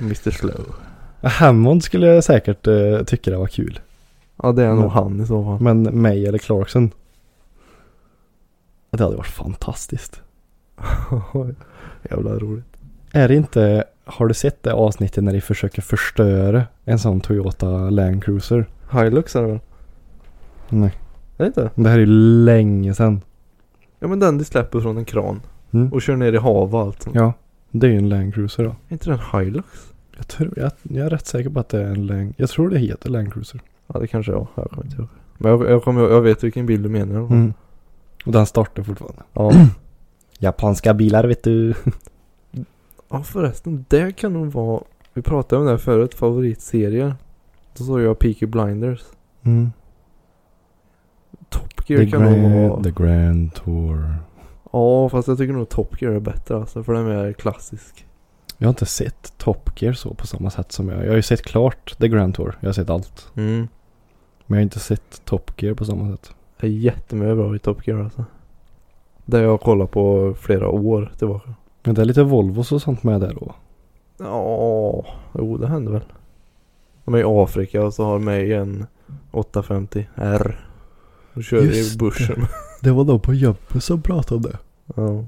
Speaker 2: Mr Slow.
Speaker 1: Hammond skulle jag säkert eh, tycka det var kul.
Speaker 2: Ja det är nog
Speaker 1: Men-
Speaker 2: han i så fall.
Speaker 1: Men mig eller Clarkson. Det hade varit fantastiskt.
Speaker 2: Jävla roligt.
Speaker 1: Är det inte, har du sett det avsnittet när de försöker förstöra en sån Toyota Land Cruiser?
Speaker 2: Hilux är det väl?
Speaker 1: Nej.
Speaker 2: Är det inte?
Speaker 1: Det här är ju länge sedan.
Speaker 2: Ja men den de släpper från en kran.
Speaker 1: Mm.
Speaker 2: Och kör ner i havet och allt sånt.
Speaker 1: Ja, det är ju en Land Cruiser då.
Speaker 2: Är inte den Hilux?
Speaker 1: Jag, tror, jag, jag är rätt säker på att det är en Land, jag tror det heter Land Cruiser.
Speaker 2: Ja det kanske jag Jag kommer inte ihåg. Men jag, jag, kommer, ihåg- jag vet vilken bild du menar. i alla fall.
Speaker 1: Mm. Och den startar fortfarande.
Speaker 2: Ja.
Speaker 1: Japanska bilar vet du.
Speaker 2: ja förresten. Det kan nog vara. Vi pratade om det här förut. Favoritserier. Då såg jag Peaky Blinders.
Speaker 1: Mm.
Speaker 2: Top
Speaker 1: The,
Speaker 2: Gear kan nog vara.
Speaker 1: grand, the Grand Tour.
Speaker 2: Ja fast jag tycker nog Top Gear är bättre alltså. För den är mer klassisk.
Speaker 1: Jag har inte sett Top Gear så på samma sätt som jag. Jag har ju sett klart The Grand Tour. Jag har sett allt.
Speaker 2: Mm.
Speaker 1: Men jag har inte sett Top Gear på samma sätt.
Speaker 2: Det är jättemycket bra i Top Gear alltså. Det har jag kollat på flera år tillbaka.
Speaker 1: Men det är lite Volvos och sånt med där då.
Speaker 2: Ja, jo det händer väl. De är i Afrika och så har de med en 850 R. Och körde i
Speaker 1: Just
Speaker 2: bushen.
Speaker 1: Det var de på jobbet som pratade om det.
Speaker 2: Ja.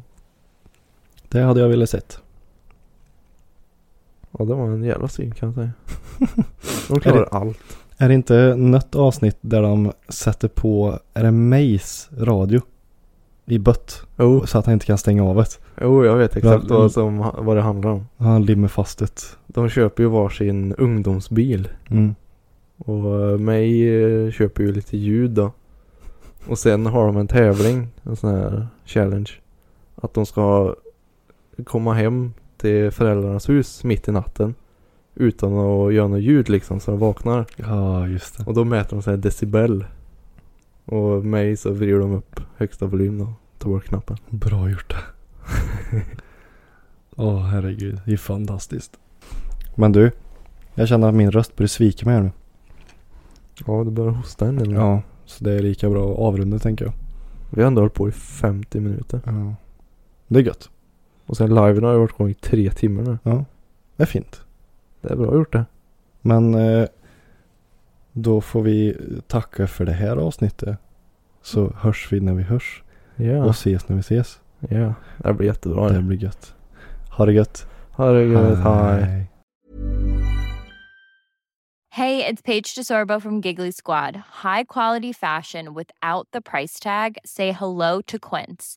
Speaker 1: Det hade jag velat sett.
Speaker 2: ja, det var en jävla syn kan jag säga. De klarar allt.
Speaker 1: Är det inte något avsnitt där de sätter på, är det Mays radio? I bött.
Speaker 2: Jo,
Speaker 1: Så att han inte kan stänga av det.
Speaker 2: jo jag vet exakt
Speaker 1: Men-
Speaker 2: vad, som, vad det handlar om.
Speaker 1: Han limmar fast det.
Speaker 2: De köper ju varsin ungdomsbil.
Speaker 1: Mm.
Speaker 2: Och eh, mig eh, köper ju lite ljud då. Och sen har de en tävling, en sån här challenge. Att de ska komma hem till föräldrarnas hus mitt i natten. Utan att göra något ljud liksom så de vaknar.
Speaker 1: Ja, just det.
Speaker 2: Och då mäter de så här decibel. Och mig så vrider de upp högsta volym då. Tar bort knappen.
Speaker 1: Bra gjort. Åh herregud, det är fantastiskt. Men du, jag känner att min röst börjar svika mig här nu.
Speaker 2: Ja, du börjar hosta en del.
Speaker 1: Ja, så det är lika bra att avrunda tänker jag.
Speaker 2: Vi har ändå hållit på i 50 minuter.
Speaker 1: Ja. Det är gött.
Speaker 2: Och sen liven har ju varit igång i tre timmar nu.
Speaker 1: Ja, det är fint.
Speaker 2: Det är bra gjort det.
Speaker 1: Men eh, då får vi tacka för det här avsnittet. Så hörs vi när vi hörs och
Speaker 2: Ja.
Speaker 1: ses när vi ses.
Speaker 2: Ja. Det här blir jättebra.
Speaker 1: Det
Speaker 2: Det.
Speaker 1: blir gött. Ha det gött.
Speaker 2: Ha det gött. Hej.
Speaker 4: Hey, it's Paige DeSorbo from Giggly Squad. High quality fashion without the price tag. Say hello to Quince.